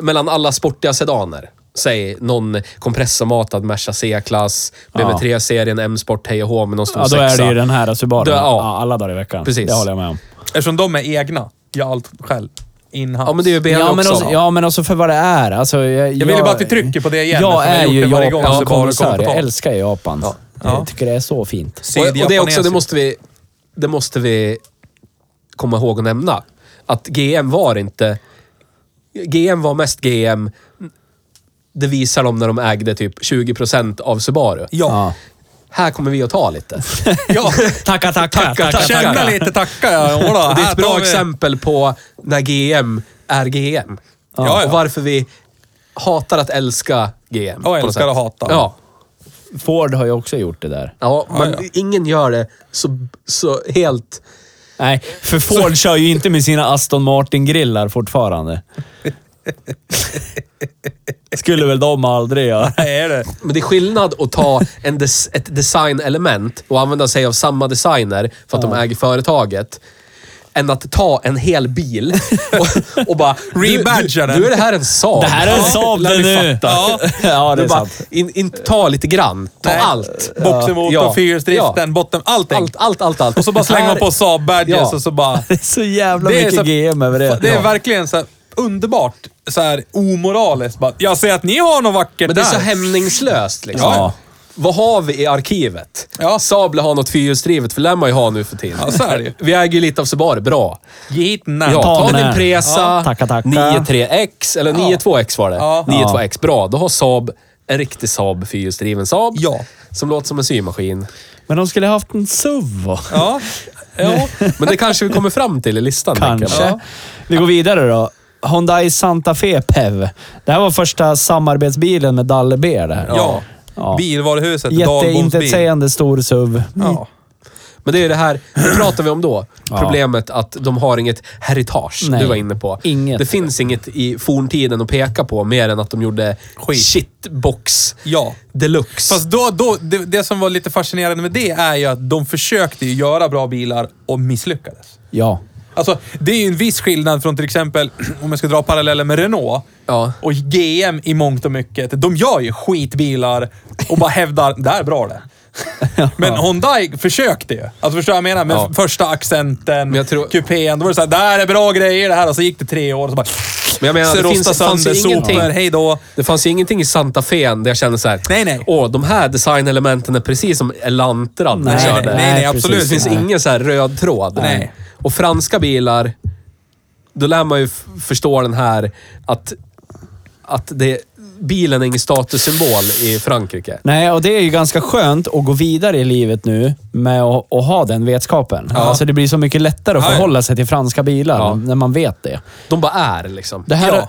mellan alla sportiga sedaner? Säg någon kompressormatad Merca C-klass, BMW3-serien, M-sport, hej och hå med någon stor
Ja, då är det
sexa.
ju den här Subaru.
Då- ja.
Ja, alla dagar i veckan.
Precis.
Det håller jag med om.
Eftersom de är egna. Jag har allt själv. Inhouse.
Ja, men det är ju BMW
Ja men, alltså,
också.
också, ja, men också för vad det är. Alltså, jag,
vill ju bara att vi trycker på det igen, eftersom jag har
Jag är
gjort
ju
det varje gång
Japans
Subaru kommer på
konsert. Jag
tal.
älskar Japan.
Ja.
Jag tycker det är så fint.
Och, och det, är också, det,
Sydjapanesiskt.
måste vi, det måste vi komma ihåg att nämna. Att GM var inte... GM var mest GM. Det visar de när de ägde typ 20% av Subaru.
Ja.
Här kommer vi att ta lite.
ja.
Tacka, tacka.
Känna lite tacka. Ja, Jodå,
Det är
här
ett bra
tar vi-
exempel på när GM är GM.
Ja, ja.
Och varför vi hatar att älska GM.
Och
på något
älskar
sätt.
att hata.
Ja.
Ford har ju också gjort det där.
Ja, men
ja.
ingen gör det så, så helt...
Nej, för Ford kör ju inte med sina Aston Martin-grillar fortfarande. Skulle väl de aldrig göra.
Nej, är det.
Men det är skillnad att ta en des, ett designelement och använda sig av samma designer för att de äger företaget. Än att ta en hel bil och, och bara...
Rebadga
nu,
den.
nu är det här en Saab.
Det här är en Saab
lär
det
ni
nu.
fatta.
Ja. det
Du
är
bara,
sant.
in, in, ta lite grann. Ta
Nej.
allt.
Eh, Boxermotor,
Ja.
fyrhjulsdriften, botten, allting.
Allt, allt, allt, allt.
Och så bara slänger man på Saab Badges
Ja.
och så bara...
Det är så jävla
Det är
mycket
så-
GM över det.
Det är
Ja.
verkligen så här underbart så här omoraliskt. Bara, jag ser att ni har något vackert
Men det är så
där.
hämningslöst liksom.
Ja.
Vad har vi i arkivet?
Ja.
Saab lär ha något fyrhjulsdrivet, för det lär man ju ha nu för tiden.
Ja, så är det ju.
Vi äger ju lite av Subaru, bra.
Ge hit den här.
Ja,
Ta
ta
den
din
här.
Presa,
Ja. Tacka, tacka.
93X, eller 92X var det.
Ja.
92X, bra. Då har Saab en riktig Saab, fyrhjulsdriven Saab.
Ja.
Som låter som en symaskin.
Men de skulle ha haft en SUV.
Ja.
Ja. Men det kanske vi kommer fram till i listan. tänker jag.
Kanske.
Ja.
Vi går vidare då. Hyundai Santa Fe PEV. Det här var första samarbetsbilen med Dalle B. Där.
ja.
Ja.
Bilvaruhuset. Dahlboms bil.
Jätteintetsägande stor SUV.
Ja.
Men det är ju det här, det pratar vi om då.
Ja.
Problemet att de har inget heritage,
Nej.
du var inne på.
Inget.
Det finns inget i forntiden att peka på mer än att de gjorde
Skit.
shitbox
Ja.
deluxe.
Fast då, då, det, det som var lite fascinerande med det är ju att de försökte ju göra bra bilar och misslyckades.
Ja.
Alltså, det är ju en viss skillnad från till exempel, om jag ska dra parallellen med Renault
Ja.
och GM i mångt och mycket. De gör ju skitbilar och bara hävdar, det här är bra det. Men Hyundai försökte ju. Alltså förstår du vad jag menar? Med
Ja.
första accenten,
jag tror-
kupén. Då var det såhär, det här är bra grejer det här. Och så gick det tre år och så bara...
Men jag menar,
så
det
rosta
finns- fanns
sönder
ju ingenting.
sopor, hej då.
Det fanns ju ingenting i Santa Fe där jag kände så här.
Nej, nej.
Åh, de här designelementen är precis som Elantran när jag
Nej,
körde.
nej, nej, nej,
precis.
absolut.
Det finns
Nej.
ingen så här röd tråd.
Nej.
Och franska bilar, då lär man ju f- förstå den här att, att det, bilen är ingen statussymbol i Frankrike.
Nej, och det är ju ganska skönt att gå vidare i livet nu med att, att ha den vetskapen. Alltså det blir så mycket lättare att
Ja, ja.
förhålla sig till franska bilar
Ja.
när man vet det.
De bara är liksom.
Det här
Ja.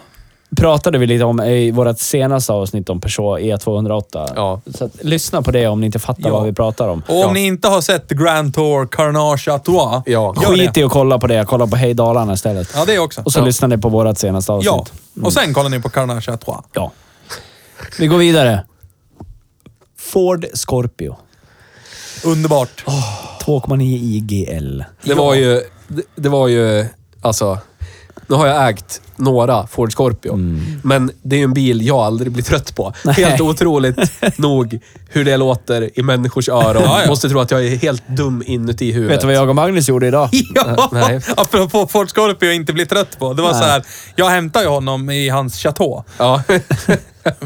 pratade vi lite om i vårt senaste avsnitt om Peugeot E208.
Ja.
Så att, lyssna på det om ni inte fattar
Ja.
vad vi pratar om.
Och om ni inte har sett Grand Tour Carnage Atois,
Ja.
gör det.
Skit i att kolla på det. Kolla på Hej Dalarna istället.
Ja, det också.
Och så
ja.
lyssnar ni på vårt senaste avsnitt.
Ja, och sen kollar ni på Carnage Atois.
Ja. Vi går vidare. Ford Scorpio.
Underbart.
2,9 IGL.
Det var ju... Det, det var ju... Alltså... Nu har jag ägt några Ford Scorpio, men det är ju en bil jag aldrig blir trött på. Helt otroligt nog hur det låter i människors öron.
Ja, ja.
Måste tro att jag är helt dum inuti huvudet.
Vet du vad jag och Magnus gjorde idag?
Ja,
Nej.
apropå Ford Scorpio jag inte blir trött på. Det var så här, jag hämtade ju honom i hans chateau.
Ja.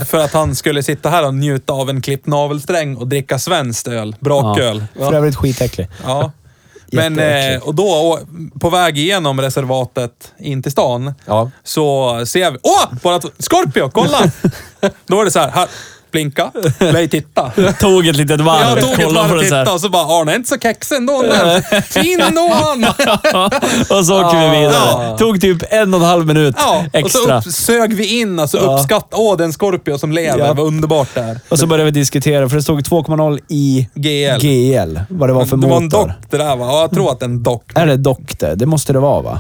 För att han skulle sitta här och njuta av en klippt navelsträng och dricka svenskt öl. Braköl.
Ja. För övrigt skitäcklig.
Ja. Men,
Jätteäckligt.
eh, och då å- på väg igenom reservatet in till stan
Ja.
så ser vi... Åh! Bara t- Scorpio, kolla! då var det så här, här blinka, nej titta.
Tog ett litet varv.
Jag tog ett
kollade
varv
på
och
det så här.
tittade och så bara, Arne är inte så kaxig ändå. den där. Fin ändå han!
och så åker vi vidare.
Ja.
Tog typ en och en halv minut
Ja, och så
extra.
upp, sög vi in alltså
Ja.
uppskatt. Åh, den Scorpio som lever.
Ja.
Vad underbart det är.
Och så började vi diskutera, för det stod 2,0 i
GL.
GL. Vad det var för
det var en
motor.
dock det där va? Ja, jag tror att det är en dock.
Är det dock det? Det måste det vara va?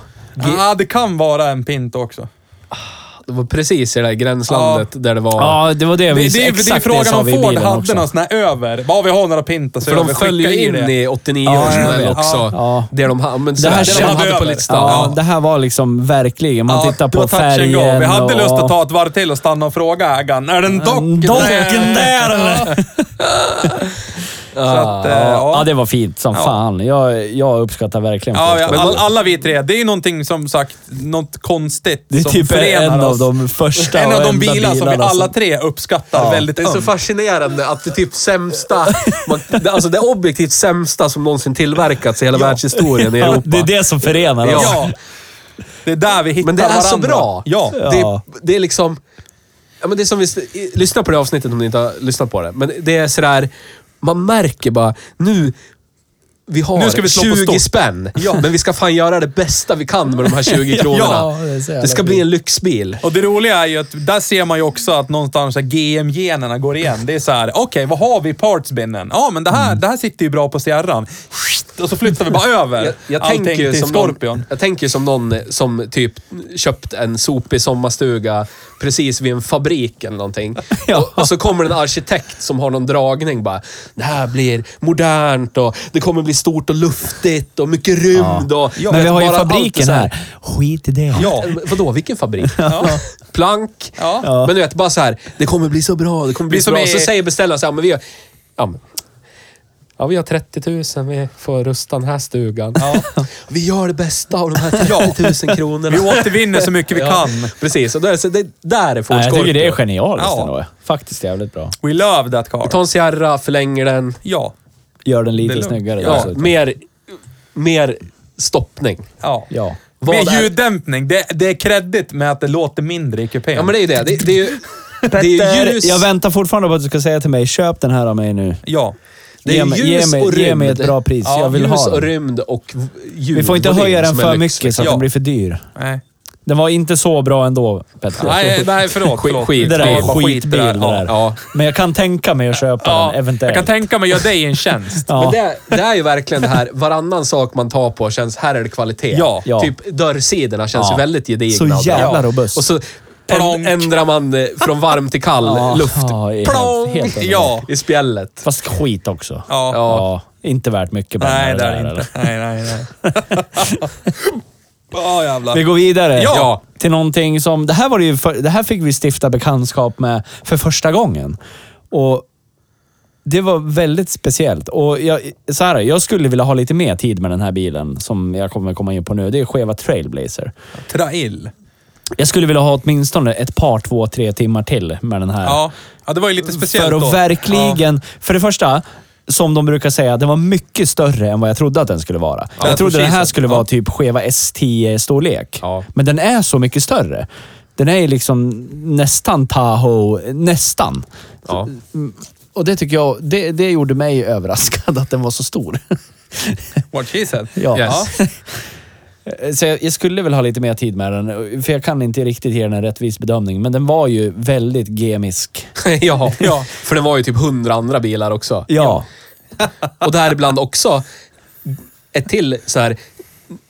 Ja, det kan vara en Pinto också.
Det var precis i det där gränslandet där det var...
Ja, det var det
Det,
vi...
det, det, det är
exakt
frågan
sa
om
vi i
Ford
bilen
hade
också.
någon sån här över. Ja, vi har några Pintos
För
över.
de föll ju
skicka
in i 89
Ja,
års
jag
modell
vet.
också.
Ja.
Det de, ha- men, så
Det här
här, det de
känns-
hade på
över.
listan.
Ja,
Ja.
det här var liksom verkligen, man tittar
det var
på
touch and
färgen
go. Vi hade
och...
lust att ta ett varv till och stanna och fråga ägaren. Är den dock?
Docken där eller?
Så att, eh, ja.
Ja, det var fint som fan. Jag, jag uppskattar verkligen
Ja,
Ford.
ja, all, alla vi tre. Det är ju någonting som sagt, något konstigt
Det är
som
typ
förenar
en
oss.
av de första
en av
och
de
enda
bilar som vi
bilarna
alla tre uppskattar väldigt
Det är så
ömt.
fascinerande att det typ sämsta, man, det, alltså det objektivt sämsta som någonsin tillverkats i hela världshistorien i
Ja,
Europa.
det är det som förenar oss.
Ja. Det är där vi hittar
Men det är
varandra.
så bra.
Ja.
Ja.
Det, det är liksom... Ja, men det är som vi, i- lyssna på det avsnittet om ni inte har lyssnat på det. Men det är sådär, man märker bara nu... Vi har
Nu ska vi slå på
20
stort.
spänn, men vi ska fan göra det bästa vi kan med de här 20 kronorna.
det är så jävla
det ska bli en lyxbil.
Och det roliga är ju att där ser man ju också att någonstans så här GM-generna går igen. Det är så här, okej, vad har vi i partsbinnen? Ja, men det här, det här sitter ju bra på Sierran. Och så flyttar vi bara över
Mm. Jag, jag,
allting
tänker ju
till
som
Scorpion.
någon, jag tänker ju som någon som typ köpt en sopig sommarstuga precis vid en fabrik eller någonting. och, och så kommer en arkitekt som har någon dragning bara. Det här blir modernt och det kommer bli stort och luftigt och mycket rymd. Och,
Men vi
vet,
har ju
bara allt är
fabriken
så
här. Skit i det.
Ja.
Eh, Vadå, vilken fabrik? Plank.
Ja.
Men du vet, bara så här. Det kommer bli så bra. Det kommer bli
Det är
så
som
bra.
i-
Så säger beställaren så här, men vi har, ja, men, ja, vi har 30 000. Vi får rusta den här stugan. Vi gör det bästa av de här 30 000 kronorna.
Vi återvinner så mycket vi kan.
Precis, och då är det, så- det, där är Ford
Nej, jag tycker
Scorpio.
det är genialiskt
Ja.
ändå. Faktiskt jävligt bra.
We love that car.
Ta en Sierra, förlänger den.
Ja.
Gör den
Det är
lite
lugnt.
snyggare
Ja,
dessutom.
mer, mer stoppning.
ja.
Ja.
Vad
Med
är-
ljuddämpning. Det, det är kreddigt med att det låter mindre i kupén.
Ja, men det är ju det. Det, det är ju... Det är ju ljus,
Petter, jag väntar fortfarande på att du ska säga till mig, köp den här av mig nu.
Ja.
det
ge
är
mig-
ljus
ge mig-
och rymd.
ge mig ett bra pris. Jag vill
ljus
ha den.
och rymd och v- ljud.
Vi får inte
Och det
höja den
som är
för
lyx,
mycket så att
Ja.
den blir för dyr.
Nej.
Den var inte så bra ändå, Petter.
Nej, nej förlåt.
Skit-
förlåt.
skit-
det där
Ja,
är
bara
skitbil det där.
Ja.
ja.
Men jag kan tänka mig att köpa den,
Jag
eventuellt.
kan tänka mig att göra dig en tjänst.
Ja.
Men det, det är ju verkligen det här, varannan sak man tar på känns, här är det kvalitet.
Ja.
Ja.
Typ dörrsidorna känns
Ja.
ju väldigt gedigna.
Så
och bra.
jävla robust.
Och så
Plonk.
en, ändrar man eh, från varm till kall
Ja,
luft
ja, helt-
Plong!
helt enkelt.
Ja.
i spjället.
Fast skit också.
Ja.
Ja.
Inte värt mycket pengar
Nej, det
det
är det
där,
inte. Nej, nej, nej. Ja, jävlar.
eller? Vi går vidare.
Ja.
Till någonting som... Det här, var det ju för, det här fick vi stifta bekantskap med för första gången. Och det var väldigt speciellt. Och jag, så här, jag skulle vilja ha lite mer tid med den här bilen som jag kommer komma in på nu. Det är Cheva Trailblazer.
Trail.
Jag skulle vilja ha åtminstone ett par, två, tre timmar till med den här.
Ja. ja, det var ju lite speciellt
För
då.
att verkligen... För det första, som de brukar säga, den var mycket större än vad jag trodde att den skulle vara. jag trodde den här
precis.
skulle vara typ Cheva S10-storlek.
Ja.
Men den är så mycket större. Den är ju liksom nästan Tahoe, nästan.
Ja.
Och det tycker jag, det, det gjorde mig överraskad att den var så stor.
Ja. What she said.
Ja.
Ja.
Yes.
Så jag, jag skulle väl ha lite mer tid med den, för jag kan inte riktigt ge den en rättvis bedömning. Men den var ju väldigt gemisk.
ja. För det var ju typ hundra andra bilar också.
Ja.
Och däribland också ett till så här.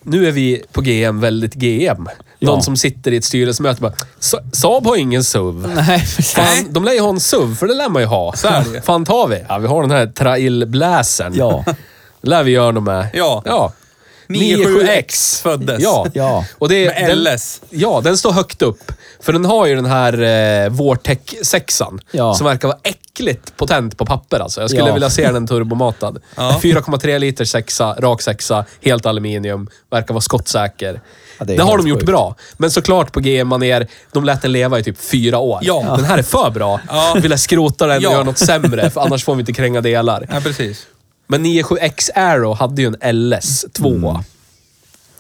Nu är vi på GM väldigt GM.
Ja.
Någon som sitter i ett styrelsemöte och bara, "Sa- Saab har ingen SUV.
Nej,
Fan, de lär ju ha en SUV, för det lär man ju ha. Så
är det ju.
Fan tar vi? Ja, vi har den här trailbläsen.
Ja.
Det lär vi göra något med.
Ja.
ja.
97X föddes.
Ja.
Ja.
Och det,
Med
den-
LS.
Ja, den står högt upp. För den har ju den här eh, Vortec 6
Ja.
som verkar vara äckligt potent på papper alltså. Jag skulle
Ja.
vilja se den turbomatad. 4,3 liter sexa, rak sexa, helt aluminium. Verkar vara skottsäker.
Ja, det
det
är
har
helt
de gjort
sjukt.
bra. Men såklart på GM-manér, de lät den leva i typ fyra år.
Ja.
Den här är för bra.
Ja.
Vi lär skrota den
Ja.
och göra något sämre, för annars får vi inte kränga delar.
Ja, precis.
Men 97X Aero hade ju en LS2.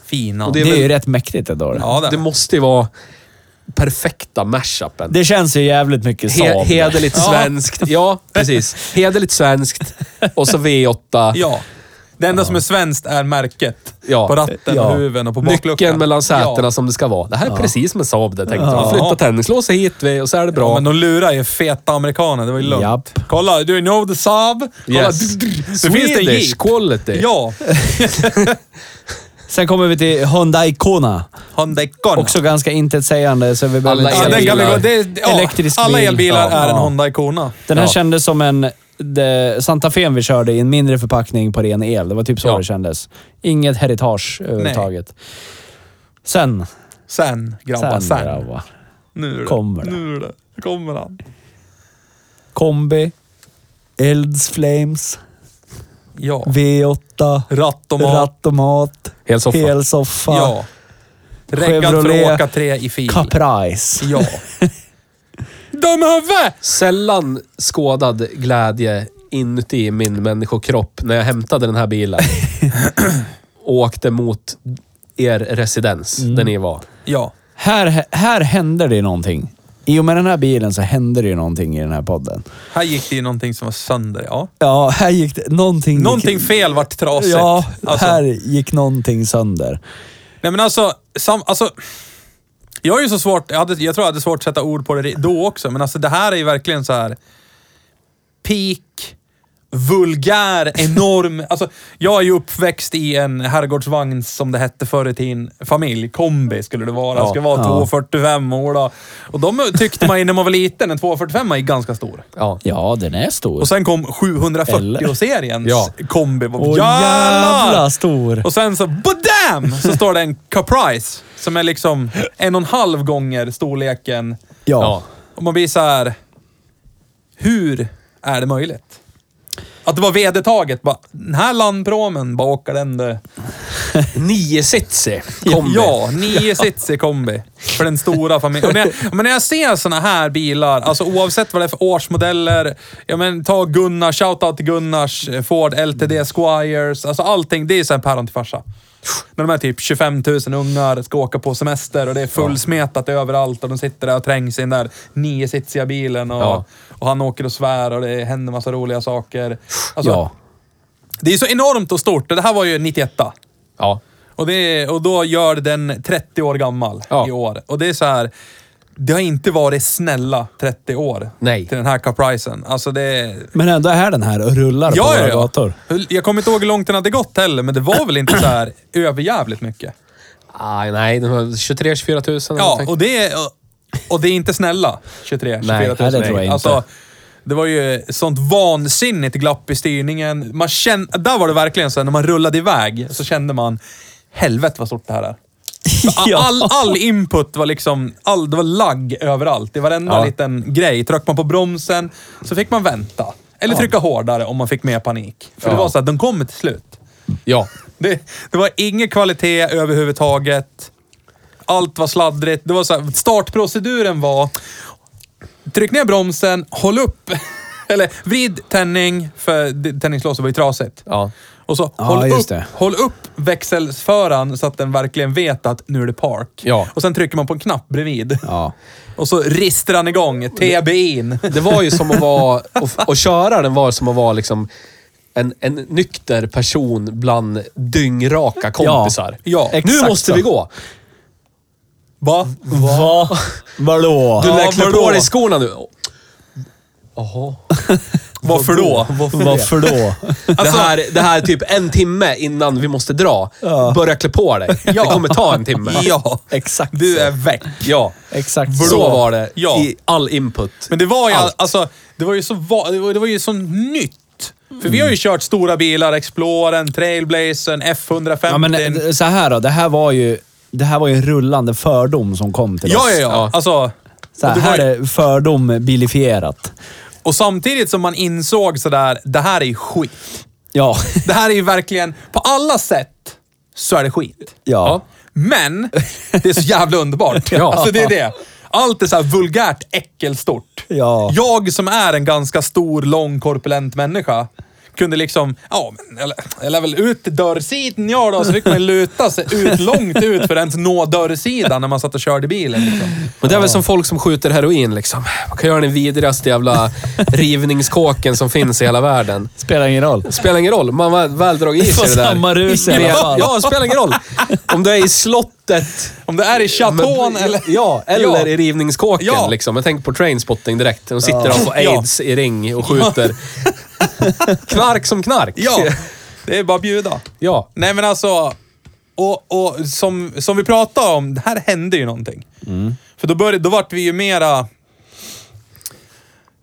Fina.
Och
Det är,
det är väl-
ju rätt mäktigt ändå.
Ja, det.
Det måste ju vara perfekta mashupen.
Det känns ju jävligt mycket Saab.
He hederligt svenskt. Ja, precis. Hederligt svenskt och så V8.
Ja. Det enda som är svenskt är märket.
Ja.
På ratten,
Ja.
och huven och på bakluckan.
Nyckeln mellan sätena
Ja.
som det ska vara. Det här är precis som en Saab det tänkte
Ja.
jag. Flytta tennislåset hit vi, och så är det
Ja,
bra.
men de lurar ju feta amerikaner. Det var ju lugnt.
Japp.
Kolla, do you know the Saab? Kolla,
Yes.
drr, drr. Det finns en
Swedish
jeep.
quality.
Ja.
Sen kommer vi till Hyundai Kona.
Hyundai Kona.
Också ganska intetsägande, så vi behöver
Alla
inte-
Ja, den kan vi gå,
elbilar.
det, ja,
Elektrisk
alla
bil.
elbilar
Ja,
är en
ja.
Honda Icona.
Den här
Ja.
kändes som en de, Santa Fe vi körde i en mindre förpackning på ren el. Det var typ så
Ja.
det kändes. Inget heritage överhuvudtaget. Sen,
Sen, grabbar,
sen,
sen.
grabbar.
Nu är det.
Kommer det.
Nu är det. Nu kommer han.
Kombi, Elds Flames,
Ja.
V8,
Rattomat.
Rattomat,
Helsoffa.
helsoffa,
Ja. Reggad för
Chevrolet
att åka tre i fil.
Caprice.
Ja. Dumhuvud!
Sällan skådad glädje inuti min människokropp när jag hämtade den här bilen och åkte mot er residens
Mm.
där ni var.
Ja.
Här, här händer det någonting. I och med den här bilen så händer det ju någonting i den här podden.
Här gick det ju någonting som var sönder. Ja.
Ja, här gick det... Någonting... gick-
Någonting fel vart trasigt.
Ja,
Alltså.
här gick någonting sönder.
Nej men alltså, sam, alltså jag är ju så svårt, jag, hade, jag tror jag hade svårt att sätta ord på det re- då också, men alltså det här är ju verkligen så här peak, vulgär, enorm. Alltså, jag är ju uppväxt i en herrgårdsvagn som det hette förr i tiden, familj, kombi skulle det vara.
Ja,
det skulle vara
ja.
245 år då. Och de tyckte man ju när man var liten, en 245 är ju ganska stor.
Ja.
Ja, den är stor.
Och sen kom
Eller?
740-seriens
Ja.
kombi.
Åh, jävla stor.
Och sen så, badam! Så står det en Caprice som är liksom en och en halv gånger storleken.
ja.
Och man blir så här. hur är det möjligt? Att det var vedertaget. Bara, den här landpromen, bara åker den det.
Nio sitsi kombi.
Ja, nio sits i kombi. För den stora familjen. Men, jag- men när jag ser såna här bilar, alltså oavsett vad det är för årsmodeller. Ja, men ta Gunnar, shoutout till Gunnars, eh, Ford LTD Squires. Alltså allting, det är så här päron till farsa. När de är typ 25 000 ungar, ska åka på semester och det är fullsmetat överallt och de sitter där och trängs i den där niositsiga bilen och,
Ja.
och han åker och svär och det händer massa roliga saker. Alltså,
ja.
Det är så enormt och stort. Det här var ju 91.
Ja.
Och, det, och då gör den 30 år gammal
Ja.
i år. Och det är så här. Det har inte varit snälla 30 år
Nej.
till den här capricen. Alltså det...
Men ändå är den här och rullar på
Ja,
våra
ja, ja.
gator.
Hur- Jag kommer inte ihåg hur långt den hade gått heller, men det var väl inte så här överjävligt mycket.
Aj, Ah, nej, det var 23 24 000 eller
Ja,
någonting.
och det är, och det är inte snälla 23, 24
Nej,
000.
nej, det tror jag inte.
Alltså, det var ju sånt vansinnigt glapp i styrningen. Man kände, där var det verkligen så här, när man rullade iväg så kände man, helvete vad stort det här är. All, all, all input var liksom, all, det var lagg överallt. I varenda
Ja.
liten grej. Tryckte man på bromsen så fick man vänta. Eller trycka hårdare om man fick mer panik. För det
Ja.
var så att de kommer till slut.
ja.
Det, det var ingen kvalitet överhuvudtaget. Allt var sladdrigt. Det var så här, startproceduren var... Tryck ner bromsen, håll upp. Eller vrid tändning, för det- tändningslåset var ju trasigt.
Ja.
Och så
Ja,
håll,
just
upp,
det.
håll upp växelföraren så att den verkligen vet att nu är det park.
Ja.
Och sen trycker man på en knapp bredvid.
Ja.
Och så rister han igång. TB in.
Det var ju som att vara... Och, och köra den var som att vara liksom en, en nykter person bland dyngraka kompisar.
Ja,
Nu
exakt
måste
så.
vi gå.
Va?
Va? Vadå?
Du
Ja,
lär klä
vadå?
på dig skorna nu. Jaha.
Varför då?
Varför då?
Alltså-
det, här, det här är typ en timme innan vi måste dra. Börja klä på dig. Det kommer ta en timme.
Ja,
Exakt
Du
så.
är väck.
Ja.
Exakt
Så
så.
var det
Ja.
i all input.
Men det var ju,
Allt.
alltså, det var ju så va- det var, det var ju så nytt. För vi har
Mm.
ju kört stora bilar, Explorern, Trailblazern, F150.
Ja, men eh, så här då. Det här var ju, det här var ju en rullande fördom som kom till
ja,
oss.
ja, ja. Alltså,
Så här,
och det var
här
ju-
är fördom bilifierat.
Och samtidigt som man insåg sådär, det här är ju skit.
Ja.
Det här är ju verkligen, på alla sätt så är det skit.
Ja.
Men det är så jävla underbart.
Ja.
Alltså det är det. Allt är så här vulgärt äckelstort.
Ja.
Jag som är en ganska stor, lång, korpulent människa kunde liksom, ja, men jag lä- jag lär väl ut till dörrsidan jag då, så fick man luta sig ut långt ut för att ens nå dörrsidan när man satt och körde bilen. Liksom.
Men det är väl som folk som skjuter heroin liksom. Man kan göra den vidrigaste jävla rivningskåken som finns i hela världen.
Spelar ingen roll.
Spelar ingen roll. Man har väl dragit i
Det
sig
var
det där.
samma rus i alla fall.
Ja, spelar ingen roll. Om du är i slottet.
Om det är i chaton
Men-
eller...
Ja, eller
Ja.
i rivningskåken
Ja.
liksom. Jag tänker på Trainspotting direkt. De sitter och får
Ja.
aids i ring och skjuter. knark som knark.
Ja, det är bara att bjuda.
Ja.
Nej men alltså, och, och som, som vi pratade om, det här hände ju någonting. För då, började, då vart vi ju mera...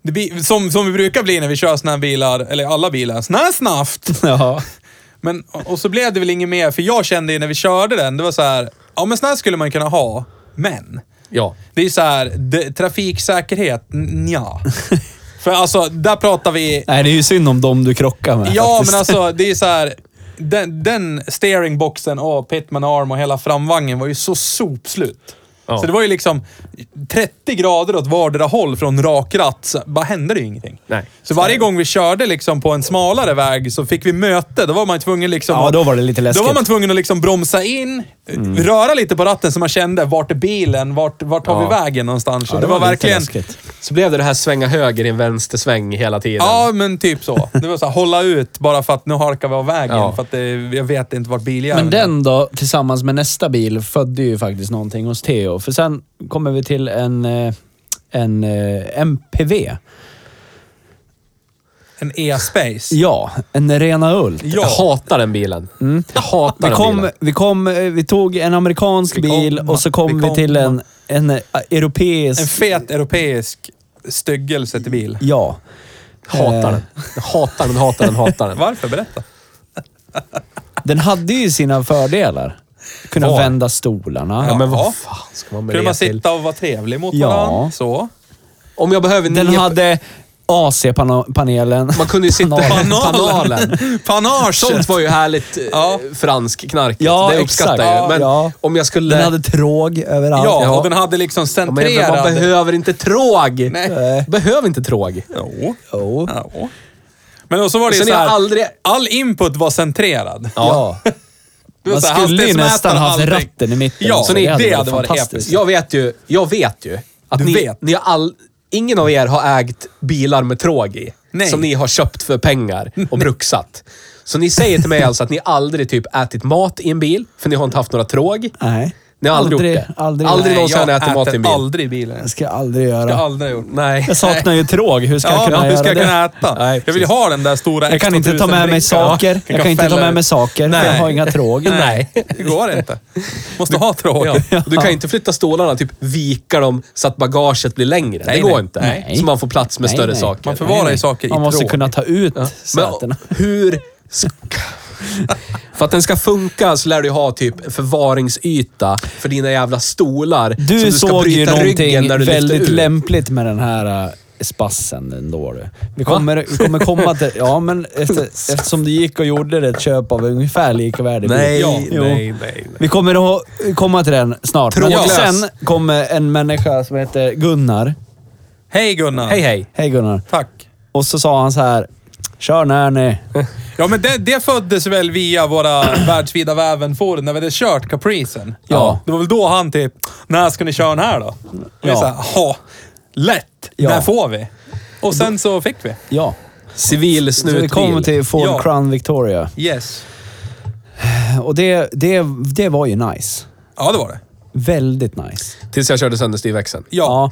Det blir, som, som vi brukar bli när vi kör såna här bilar, eller alla bilar, såna här snabbt.
Ja.
Men, och och så blev det väl inget mer, för jag kände ju när vi körde den, det var så här, ja men sån här skulle man kunna ha, men.
Ja.
Det är ju så här, det, trafiksäkerhet, nja. För alltså, där pratar vi
Nej, det är ju synd om dem du krockar med.
Ja,
faktiskt.
men alltså det är så här. Den, den steeringboxen och Pitman Arm och hela framvagnen var ju så sopslut.
Ja.
Så det var ju liksom 30 grader åt vardera håll från rak ratt. Så bara hände det ju ingenting.
Nej.
Så varje gång vi körde liksom på en smalare väg så fick vi möte. Då var man tvungen liksom...
Ja,
att-
då var det lite läskigt. Mm.
Då var man tvungen att liksom bromsa in, röra lite på ratten så man kände vart är bilen, vart, vart tar vi
Ja.
vägen någonstans. Så
Ja,
det, var,
lite
verkligen...
läskigt.
Så blev det det här svänga höger i en vänstersväng hela tiden.
Ja, men typ så. Det var så här, hålla ut bara för att nu harkar vi av vägen.
Ja.
För att det, jag vet inte vart biljäveln
Men den då, tillsammans med nästa bil, födde ju faktiskt någonting hos Theo. För sen kommer vi till en, eh, en eh, MPV.
En e-space.
Ja, en Rena Ult.
Ja. Mm.
Jag hatar den bilen. Jag hatar
Vi
den
kom,
bilen.
vi kom, eh, vi tog en amerikansk
Vi
bil
kom,
och så kom
vi
vi,
kom.
till en, en eh, europeisk.
En fet europeisk styggelse till bil.
ja.
Hatar
Eh,
den. Jag hatar den, hatar den, hatar den.
Varför? Berätta.
Den hade ju sina fördelar. Kunna
Var?
vända stolarna.
Ja, men
Ja.
vad fan ska man med
Kunde
det
man
till?
sitta och vara trevlig mot
Ja.
varandra? Så.
Om jag behöver
Den
nio...
hade AC-panelen.
Man kunde ju sitta...
Panalen.
Panalen.
Panage!
Sånt var ju härligt eh,
Ja.
fransk knark.
Ja,
det uppskattar
exakt.
jag ju. Men
Ja.
om jag skulle...
Den hade tråg överallt.
Ja,
Ja.
och den hade liksom
Ja, men
centrerad...
man behöver inte tråg!
Nej.
Behöver inte tråg.
Jo.
Jo.
Ja. Men och så var det ju
Sen är
så
jag
här,
aldrig...
all input var centrerad.
Ja.
Det var
Man
så här,
skulle ju
hastighetsmätare
nästan
och
haft
allting.
ratten i mitten.
Ja,
också.
så det hade varit
fantastiskt.
episkt.
Jag vet ju, jag vet ju att
Du
ni,
vet.
ni har all, ingen av er har ägt bilar med tråg i.
Nej.
Som ni har köpt för pengar och bruksat. Så ni säger till mig alltså att ni aldrig typ ätit mat i en bil, för ni har inte haft några tråg.
Nej.
Ni har aldrig, gjort det.
Aldrig,
aldrig
Nej,
någonsin har ni
jag
ätit mat i en bil.
aldrig i bilen.
Jag ska jag aldrig göra.
Jag har
Jag,
aldrig gjort.
Nej.
saknar ju tråg. Hur ska jag
Ja,
kunna
hur
göra
ska jag
det?
kunna äta?
Nej,
jag vill ju
precis.
ha den där stora
jag kan inte ta med mig saker. Jag kan inte ta med mig saker. för Jag
Nej.
har inga tråg.
Nej, det går inte. Måste ha tråg.
Ja. Du kan inte flytta stolarna, typ vika dem så att bagaget blir längre.
Nej,
det går
nej.
inte.
Nej.
Så man får plats med
Nej,
större
nej.
saker. Mm.
Man förvarar ju saker i
Man måste
tråg.
kunna ta ut
Men
sätena.
hur... ska- För att den ska funka så lär du ju ha typ en förvaringsyta för dina jävla stolar. som
Du, såg ju någonting
lyfter
väldigt
ur.
lämpligt med den här äh, spassen ändå du. Vi kommer, vi kommer komma till... Ja, men efter, eftersom du gick och gjorde ett köp av ungefär likvärdig bil.
Nej,
Ja. Jo.
nej, nej. nej.
Vi kommer att komma till den snart. Men
Tråglös.
sen kommer en människa som heter Gunnar.
Hej Gunnar.
Hej, hej.
Hej Gunnar.
Tack.
Och så sa han så här. Kör när ni...
Ja, men det, det föddes väl via våra världsvida väven-forum när vi hade kört Capricen.
Ja.
Det var väl då han typ, när ska ni köra den här då? Och vi
Ja.
sa, ha, lätt,
Ja.
när får vi? Och sen så fick vi.
Ja.
Civil
Så vi kommer
snutbil.
till Ford
Ja.
Crown Victoria.
Yes.
Och det, det, det var ju nice.
Ja, det var det.
Väldigt nice.
Tills jag körde sönder styrväxeln.
Ja.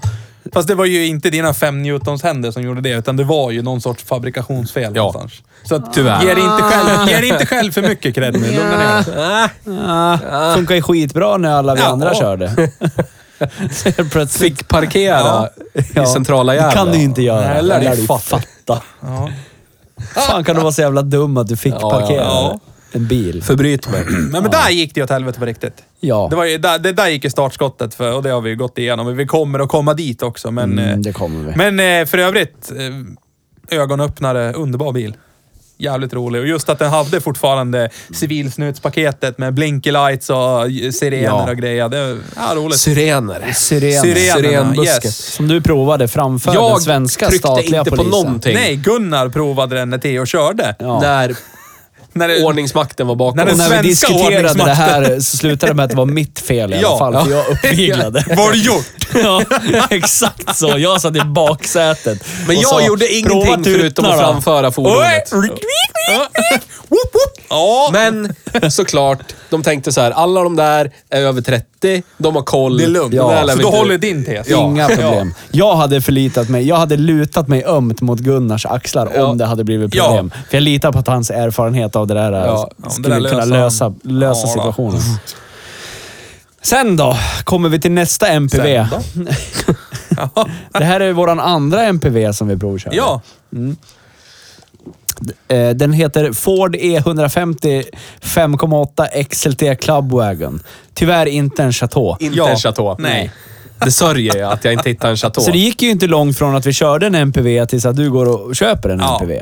Fast det var ju inte dina fem Newtons händer som gjorde det, utan det var ju någon sorts fabrikationsfel
Ja.
någonstans. Så att,
Tyvärr.
Ge dig inte själv, ge dig inte själv för mycket cred nu. Lugna ner dig.
Ah, Funkar ju skitbra när alla vi
Ja.
andra körde. Så helt Plötsligt.
Fick parkera i centrala
Det
Gävle.
kan du ju inte göra.
Nej, lär dig
dig
fatta.
fatta.
Ja.
fan kan du vara så jävla dum att du fick
ja,
parkera
ja.
en bil?
Förbryt mig.
Men, men där gick det ju åt helvete på riktigt.
Ja.
Det, var ju, där, det där gick ju startskottet för och det har vi ju gått igenom. Vi kommer att komma dit också. Men,
Mm,
eh,
det kommer vi.
men eh, för övrigt, eh, ögonöppnare, underbar bil. Jävligt rolig. Och just att den hade fortfarande civilsnutspaketet med blinky lights och eh, sirener
Ja.
och grejer. Det ja, roligt.
Syrener.
Syren.
Syren.
Syrenbusket.
yes.
Som du provade framför den
Jag
svenska
tryckte
statliga
inte på
polisen.
någonting.
Nej, Gunnar provade den när Theo körde.
Ja.
När
När det,
ordningsmakten var bakom.
När det-
Och
oss.
när vi
Svenska
diskuterade det
ordningsmakten.
här så slutade det med att det var mitt fel i alla
Ja.
fall, för jag uppviglade.
vad har du gjort?
ja, exakt så. Jag satt i baksätet.
Men
och
jag
sa,
gjorde
"Prova
ingenting förutom
tuttarna
att
då."
framföra
Oj!
fordonet.
Ja. Woop, woop. Ja,
Men såklart, de tänkte så här, alla de där är över 30, de har koll.
det är lugnt.
De där lär
så
vi
då
inte-
håller din tes.
Inga problem. Jag hade förlitat mig. Jag hade lutat mig ömt mot Gunnars axlar
Ja.
om det hade blivit problem. För jag litar på att hans erfarenhet av det där
Ja,
om det
skulle
där
kunna
löser
lösa,
han.
lösa
Ja, då.
situationen. Sen då, kommer vi till nästa MPV.
Ja.
Det här är vår andra MPV som vi provkör.
ja.
Eh, Den heter Ford E150 5,8 XLT Club Wagon. Tyvärr inte en Chateau.
Inte
Ja.
en chateau.
Nej.
Det sörjer jag att jag inte hittade en chateau.
Så det gick ju inte långt från att vi körde en MPV tills att du går och köper en
Ja.
MPV.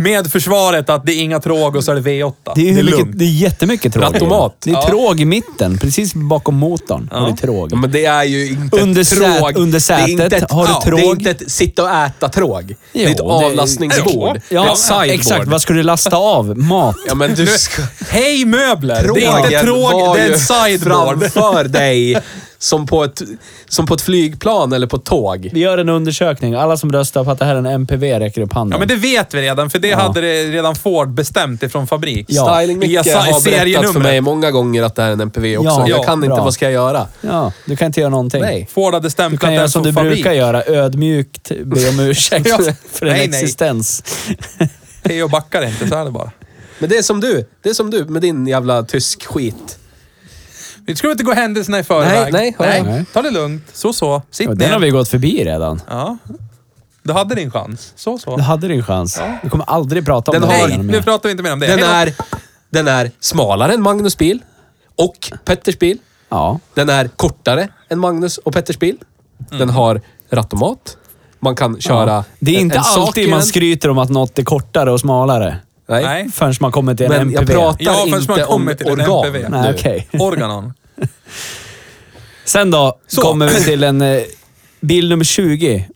Med försvaret att det är inga tråg och så är det V8.
Det är, ju hur mycket,
lugnt.
det är jättemycket tråg. i den.
Rattomat.
Det är
Ja.
tråg i mitten, precis bakom motorn. Har du tråg.
Ja, men det är ju inte
Under
ett
sät-
tråg.
under
Det är inte
sätet
ett-
har du
ja,
tråg.
Det är inte ett sitta och äta-tråg. Det är ett
Jo,
avlastningsbord. Det är
Ja,
ett sideboard.
exakt. Vad ska du lasta av? Mat.
Ja, men du ska...
Hej möbler! Det är inte
Trågen
tråg,
var
det är
ju
ett sideboard.
framför dig som på, ett, som på ett flygplan eller på ett tåg.
Vi gör en undersökning. Alla som röstar på att det här är en MPV räcker upp handen.
Ja, men det vet vi redan, för det hade det redan Ford bestämt ifrån fabrik.
Ja.
Styling Micke
Via si-
har berättat för
serienumret.
mig många gånger att det här är en MPV också.
Ja,
jag
ja,
kan inte,
bra.
vad ska jag göra?
Ja, du kan inte göra någonting.
Nej.
Ford hade
Du
stämplat
kan göra
den
som
som
du
fabrik.
brukar göra, ödmjukt be om ursäkt
Ja.
för din
Nej, nej.
existens.
Theo backar inte, så är det bara.
Men det är som du. Det är som du med din jävla tysk skit.
Vi ska inte gå händelserna i förväg.
Nej, nej,
nej.
Ta det lugnt. Så, så. Sitt
Ja, Den
ner.
har vi gått förbi redan.
Ja. Du hade din chans. Så,
Du
så.
hade din chans. Du kommer aldrig prata om
Den
den
har-
här
Nej,
igen
nu
mer.
pratar vi inte mer om det.
Den
Hej då.
är, den är smalare än Magnus bil och Petters bil.
Ja.
Den är kortare än Magnus och Petters bil. Den har rattomat. Man kan köra
Mm. ja. Det är
en-
inte
en sak i
alltid man
den.
skryter om att något är kortare och smalare.
Nej.
Nej.
Förrän man kommer till en
Men jag
MPV.
pratar
Ja, förrän man
inte om
kommer till en
organ.
MPV.
Nej,
nu.
okej.
Organon.
Sen då
Så.
kommer vi till en eh, bil nummer 20.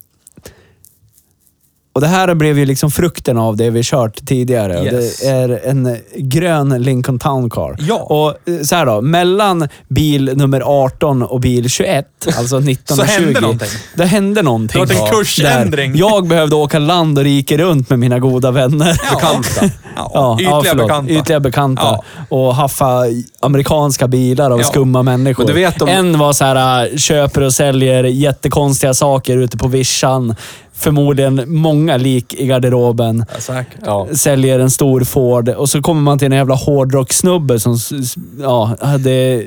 Och det här blev ju liksom frukten av det vi kört tidigare. Och
Yes.
Det är en eh, grön Lincoln Town Car.
Ja.
Och eh, så här då, mellan bil nummer 18 och bil 21, alltså 19
Så
och 20.
hände någonting.
Det hände någonting.
Det var en
Ja.
kursändring.
Där Jag behövde åka land och rike runt med mina goda vänner.
Bekanta. Ja, ytliga
förlåt.
bekanta.
Ytliga bekanta. Och haffa amerikanska bilar av
Ja.
skumma människor.
Men du vet om-
En var så här, äh, köper och säljer jättekonstiga saker ute på vischan. Förmodligen många lik i garderoben.
Ja, säkert.
Ja.
Säljer en stor Ford och så kommer man till en jävla hårdrocksnubbe som s- s- ja, hade äh,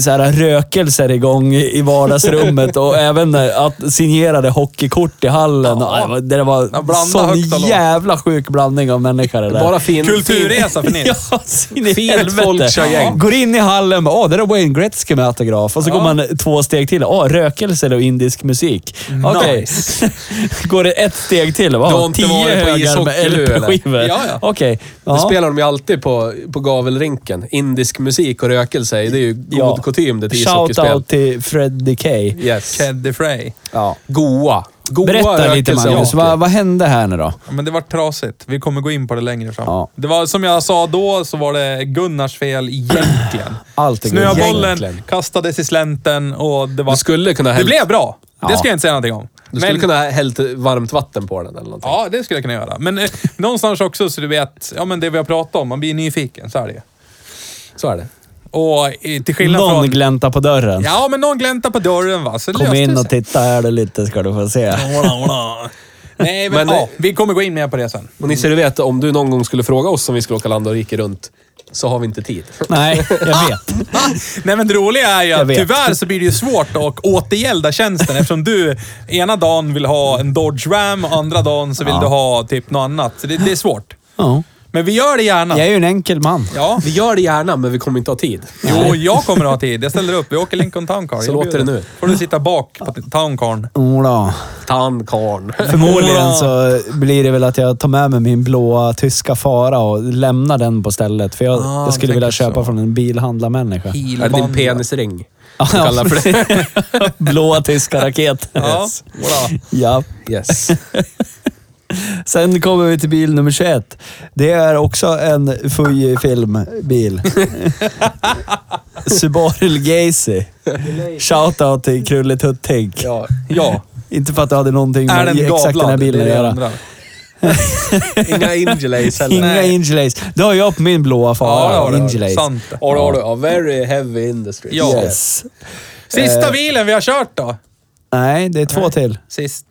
så här, rökelser igång i i vardagsrummet och även äh, att signerade hockeykort i hallen.
Ja.
Ja. det där var
Ja, blanda
sån
högt och lågt.
jävla sjuk blandning av människor. Det där.
Bara fin...
Kulturresa för Nils.
Ja, så in i
Fint
helvete.
folk kör gäng.
Går in i hallen och bara, åh, där är Wayne Gretzky med autograf. Och så går man två steg till. Åh, rökelse och indisk musik. Okej. går det ett steg till.
Du har
Åh,
inte
tio
varit på
högar med
ishockey nu, eller?
LP-skivor.
Ja, ja.
Okej.
Det
Ja.
spelar de ju alltid på, på gavelrinken. Indisk musik och rökelse, det är ju god
Ja.
kutym det till ishockeyspel.
Shoutout till Freddy K.
Yes.
Keddy Frey.
Ja.
Goa. Goa
Berätta lite
rökelse och
Magnus,
hockey.
vad, vad hände här nu då?
Ja, Men det var trasigt. Vi kommer gå in på det längre fram.
Ja.
Det var, som jag sa då, så var det Gunnars fel egentligen.
Allt är guld.
Snöbollen
Egentligen.
kastades i slänten och det var...
Du skulle kunna
det
hälla,
blev bra.
Ja.
Det ska jag inte säga någonting om.
du skulle kunna hällt varmt vatten på den eller någonting.
Ja, det skulle jag kunna göra. Men eh, någonstans också så du vet, ja men det vi har pratat om, man blir nyfiken. Så är det ju.
Så är det.
Och eh, till skillnad
Någon
från...
glänta på dörren.
Ja, men någon gläntar på dörren va. Så
Kom
löste
in
det
och
sig.
titta här du lite ska du få se.
Ola, ola. Nej, men,
Men,
ja,
eh,
vi kommer gå in mer på det sen.
Och Nisse, du vet om du någon gång skulle fråga oss om vi skulle åka land och rike runt, så har vi inte tid.
Nej, jag vet.
Nej men det roliga är ju
Jag
att
vet.
tyvärr så blir det ju svårt att återgälda tjänsten eftersom du ena dagen vill ha en Dodge Ram och andra dagen så vill du ha typ något annat. Så det, det är svårt.
Ja.
Men vi gör det gärna.
Jag är ju en enkel man.
Ja.
Vi gör det gärna, men vi kommer inte ha tid.
Jo, jag kommer att ha tid. Jag ställer upp. Vi åker Lincoln Town Car.
Så
Jag
låter
bjuder.
det nu.
får du sitta bak på Town Carn.
Ola.
Tandkarn.
Förmodligen så blir det väl att jag tar med mig min blåa tyska fara och lämnar den på stället. För jag,
Ah,
jag skulle
du
vilja
tänker
köpa
så.
från en bilhandlarmänniska.
Är det din penisring?
Ja,
kallar för
blåa tyska raket.
Ja, bra.
ja.
Yes.
Sen kommer vi till bil nummer 21. Det är också en Fuji-filmbil. Subaru Legacy. Shoutout till Krulletutt Tänk.
Ja.
Ja.
Mm,
Inte för att det hade någonting
Är
med
den
exakt den här
gavlad?
bilen att
det jag
göra.
undrar.
Inga Ingelays heller.
Inga
Nej.
Ingelace. Det har jag på min blåa
Ja,
fara.
det har du.
Ingelace.
Sant.
Har du, har du. Ja, Very heavy industry.
Ja.
Yes.
Sista bilen vi har kört då.
Nej, det är två till.
Sist.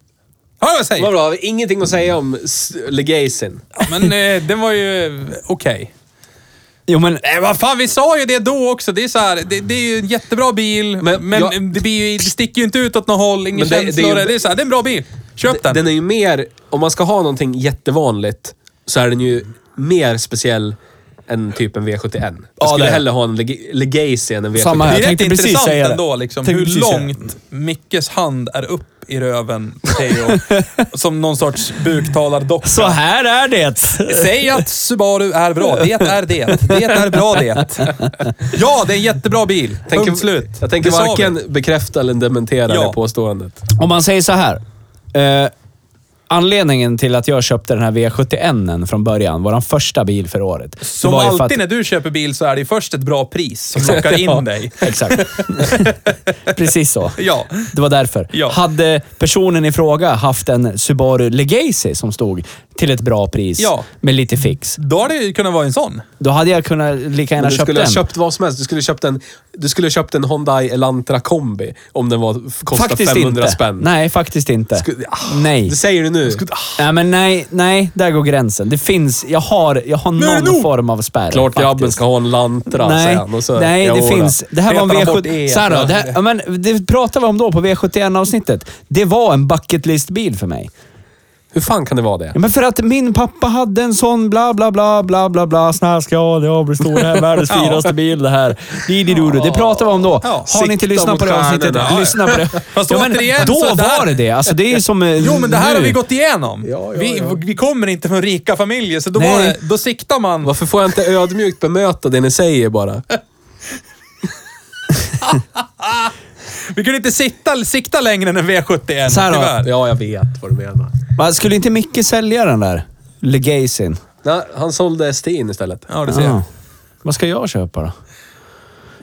Ja, vad säger
Vad bra. Har vi Ingenting att säga om s- Legacyn.
Ja, Men eh, den var ju okej.
Jo, men
Nej, vad fan, vi sa ju det då också. Det är så här, det, det är ju en jättebra bil, men,
Men jag-
det, blir ju, det sticker ju inte ut åt något håll, inga
Men det- det är
känslor. Det är,
ju-
så här, det är en bra bil. Köp den.
Den är ju mer... Om man ska ha någonting jättevanligt så är den ju mer speciell än typ en V71. Jag skulle
det är.
hellre ha en Leg- Legacy än en V71.
Samma
det
här.
är
jag
rätt
tänkte precis
intressant
säga det.
ändå, liksom,
Tänkte
hur
precis säga det.
långt Mickes hand är upp i röven på Teo. som någon sorts buktalardocka.
så här är det.
Säg att Subaru är bra. Det är det. Det är bra det. Ja, det är en jättebra bil.
Tänker-
Punkt slut.
Jag tänker
Det sa vi.
varken bekräfta eller dementera
Ja.
det påståendet.
Om man säger så här. Eh, anledningen till att jag köpte den här V71 från början, vår första bil för året. det
Som
var ju för
alltid när du köper bil så är det ju först ett bra pris som
Exakt.
lockar
Ja,
in dig.
Exakt. Precis så.
Ja.
Det var därför.
Ja.
Hade personen i fråga haft en Subaru Legacy som stod till ett bra pris
Ja.
med lite fix,
Då hade det ju kunnat vara en sån.
då hade jag kunnat lika gärna
Men du
köpt
skulle
den.
ha köpt vad som helst. Du skulle ha köpt en, du skulle ha köpt en Hyundai Elantra kombi om den var, f- kostade
faktiskt
500
inte.
spänn.
Nej, ah, faktiskt inte.
Skulle- ah,
nej.
Det säger du nu.
Nej, men nej, nej, där går gränsen. Det finns, jag har, jag har
är det
någon
nog.
form av spärr.
Klart
faktiskt.
grabben ska ha en Lantra,
Nej,
säger han. Och så,
nej
Ja,
det
då.
finns. Det här var en
Petar han bort E?
V70... Så här då, det, här, ja, men, det pratade vi om då på V71-avsnittet. Det var en bucket list-bil för mig.
Hur fan kan det vara det?
Ja, men för att min pappa hade en sån bla bla bla bla bla bla. Snart ska jag bli stor. Det här är världens
Ja.
finaste bil det här. Dididudu. Det pratade vi om då.
Ja.
Har ni inte
Sikta
lyssnat
mot
på det avsnittet?
stjärnorna. Ja.
Lyssna på det.
Fast återigen
då
så där-
var det det. Alltså, det är ju som eh,
Jo, men det här
nu.
har vi gått igenom.
Ja, ja,
vi,
ja.
vi kommer inte från rika familjer, så då,
Nej.
var det, då siktar man.
Varför får jag inte ödmjukt bemöta det ni säger bara?
Vi kunde inte sitta, sikta längre än en V71,
Så här då.
tyvärr.
Ja, jag vet vad du menar.
Man skulle inte Micke sälja den där Legacyn?
Nej, han sålde STI'n istället.
Ja, du ser.
Ja. Vad ska jag köpa då?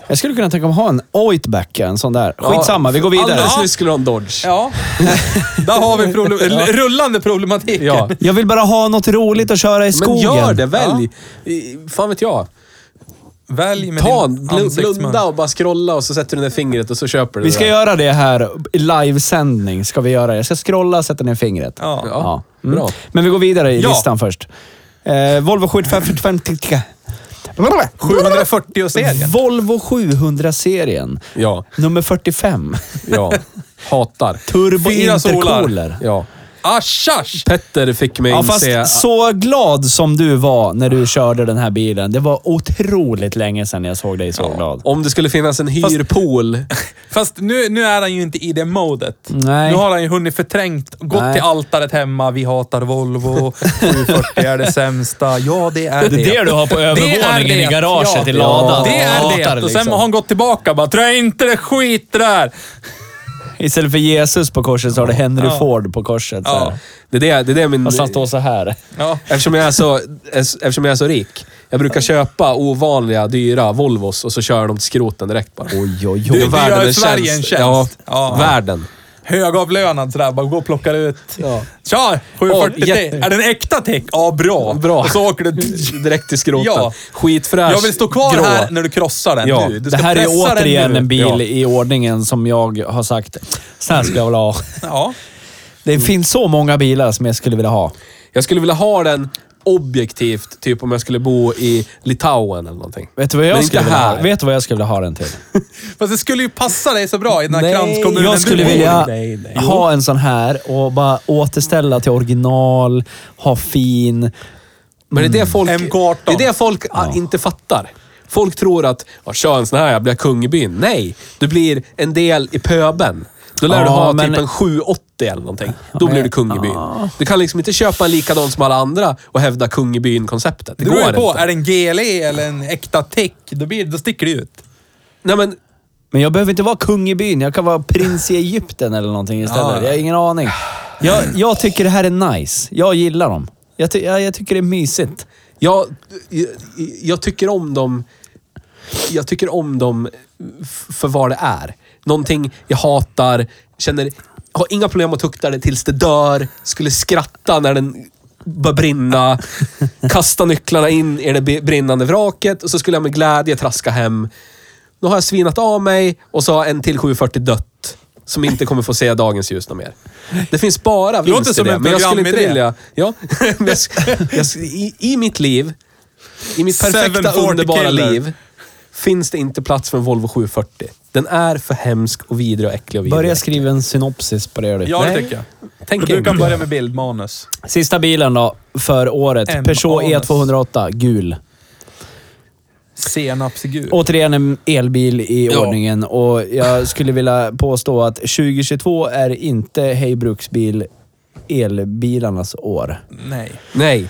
Jag skulle kunna tänka mig att ha en Oitback, en sån där. Skitsamma, vi går vidare.
Alldeles nyss skulle du ha en Dodge.
Ja. Där har vi problem, rullande problematik.
Ja.
Jag vill bara ha något roligt att köra i skogen.
Men gör det, välj! I- Fan vet jag.
Välj med
Ta,
din
bl-
ansiktsmun.
blunda och bara scrolla och så sätter du ner fingret och så köper du
Vi
det
ska
där.
göra det här i livesändning. Ska vi göra det. Jag ska scrolla och sätta ner fingret.
Ja.
Ja,
Mm.
bra.
Men vi går vidare i
Ja.
listan först. Eh, Volvo 745...
740-serien.
Volvo 700-serien.
Ja,
Nummer 45.
ja. Hatar.
Turbo
Fyra solar.
intercooler.
Ja.
Asch, asch!
Petter fick mig
Ja, fast
inse...
så glad som du var när du körde den här bilen. Det var otroligt länge sedan jag såg dig så glad.
Om det skulle finnas en hyrpool.
Fast nu, nu är han ju inte i det modet.
Nej.
Nu har han ju hunnit förträngt, gått
Nej.
till altaret hemma. Vi hatar Volvo. 740 är det sämsta. Ja, det är det.
du har på
övervåningen i garaget i
ladan.
Det är det. Och
liksom.
sen har han gått tillbaka och bara, trä inte det skit det där.
Istället för Jesus på korset så har du Henry
Ja.
Ford på korset. Så
Ja.
här.
Det är det, det är det min...
Fast han står så här.
Ja.
Eftersom jag, är så, eftersom jag är så rik. Jag brukar köpa ovanliga, dyra Volvos och så kör de till skroten direkt bara.
Oj, oj,
Det
Du-
är
du
världen
gör
en
Sverige en tjänst.
Ja,
Ja.
världen.
Högavlönad sådär, bara gå och plockar ut.
Ja.
Kör! 740
Åh,
te.
jätte-
Är den äkta tech? Ja, bra.
Bra.
Och så åker du...
Direkt till skroten.
Ja.
Skitfräsch.
Jag vill stå kvar
grå.
här när du krossar den
Ja.
nu. Du
Det
ska
här är
pressa den
återigen
nu.
en bil
Ja.
i ordningen som jag har sagt, så här ska jag vilja ha.
Ja.
Det finns så många bilar som jag skulle vilja ha.
Jag skulle vilja ha den objektivt, typ om jag skulle bo i Litauen eller någonting.
Vet du vad
Men
jag
inte
skulle vilja ha?
här.
Vet du vad jag skulle vilja ha den till?
Fast det skulle ju passa dig så bra i den här kranskommunen.
Jag skulle
du bor i.
vilja
nej, nej.
ha en sån här och bara återställa till original, ha fin.
Men det är
Mm.
det folk,
MK18.
det är det folk ah, inte fattar. Folk tror att, ja, kör en sån här, jag blir kung i byn. Nej, du blir en del i pöben. Då lär
Ja,
du ha
men-
typ en 780 eller någonting. Då
men-
blir du kung i byn. Du kan liksom inte köpa en likadan som alla andra och hävda kung i byn-konceptet. Det
Det beror
går
ju på.
inte.
Är det en GLE eller en äkta tech, då, blir, då sticker det ut.
Nej, men
Men jag behöver inte vara kung i byn. Jag kan vara prins i Egypten eller någonting istället.
Ja.
Jag har ingen aning. Jag, jag tycker det här är nice. Jag gillar dem. Jag, ty jag, jag tycker det är mysigt.
Jag, jag, jag tycker om dem... Jag tycker om dem f- för vad det är. Någonting jag hatar, känner... Har inga problem att tukta det tills det dör. Skulle skratta när den börjar brinna. Kasta nycklarna in i det be- brinnande vraket och så skulle jag med glädje traska hem. Nu har jag svinat av mig och så har en till 740 dött. Som inte kommer få se dagens ljus något mer. Det finns bara
Låter
vinst i
som
det,
en
men jag skulle inte
programidé.
vilja... Ja. Men jag, sk- jag, sk- i, I mitt liv, i mitt perfekta
740
underbara
killer.
liv, finns det inte plats för en Volvo 740. Den är för hemsk och vidrig och äcklig och vidrig.
Börja skriva en synopsis på det. gör du.
Ja, det
Nej.
tycker jag.
Tänk
Du kan
inte.
börja med bildmanus.
Sista bilen då, för året.
M.
Peugeot
Anus.
E208, gul.
Senapsgul.
Återigen en elbil i
Ja.
ordningen och jag skulle vilja påstå att 2022 är inte Hej Bruksbil elbilarnas år.
Nej.
Nej.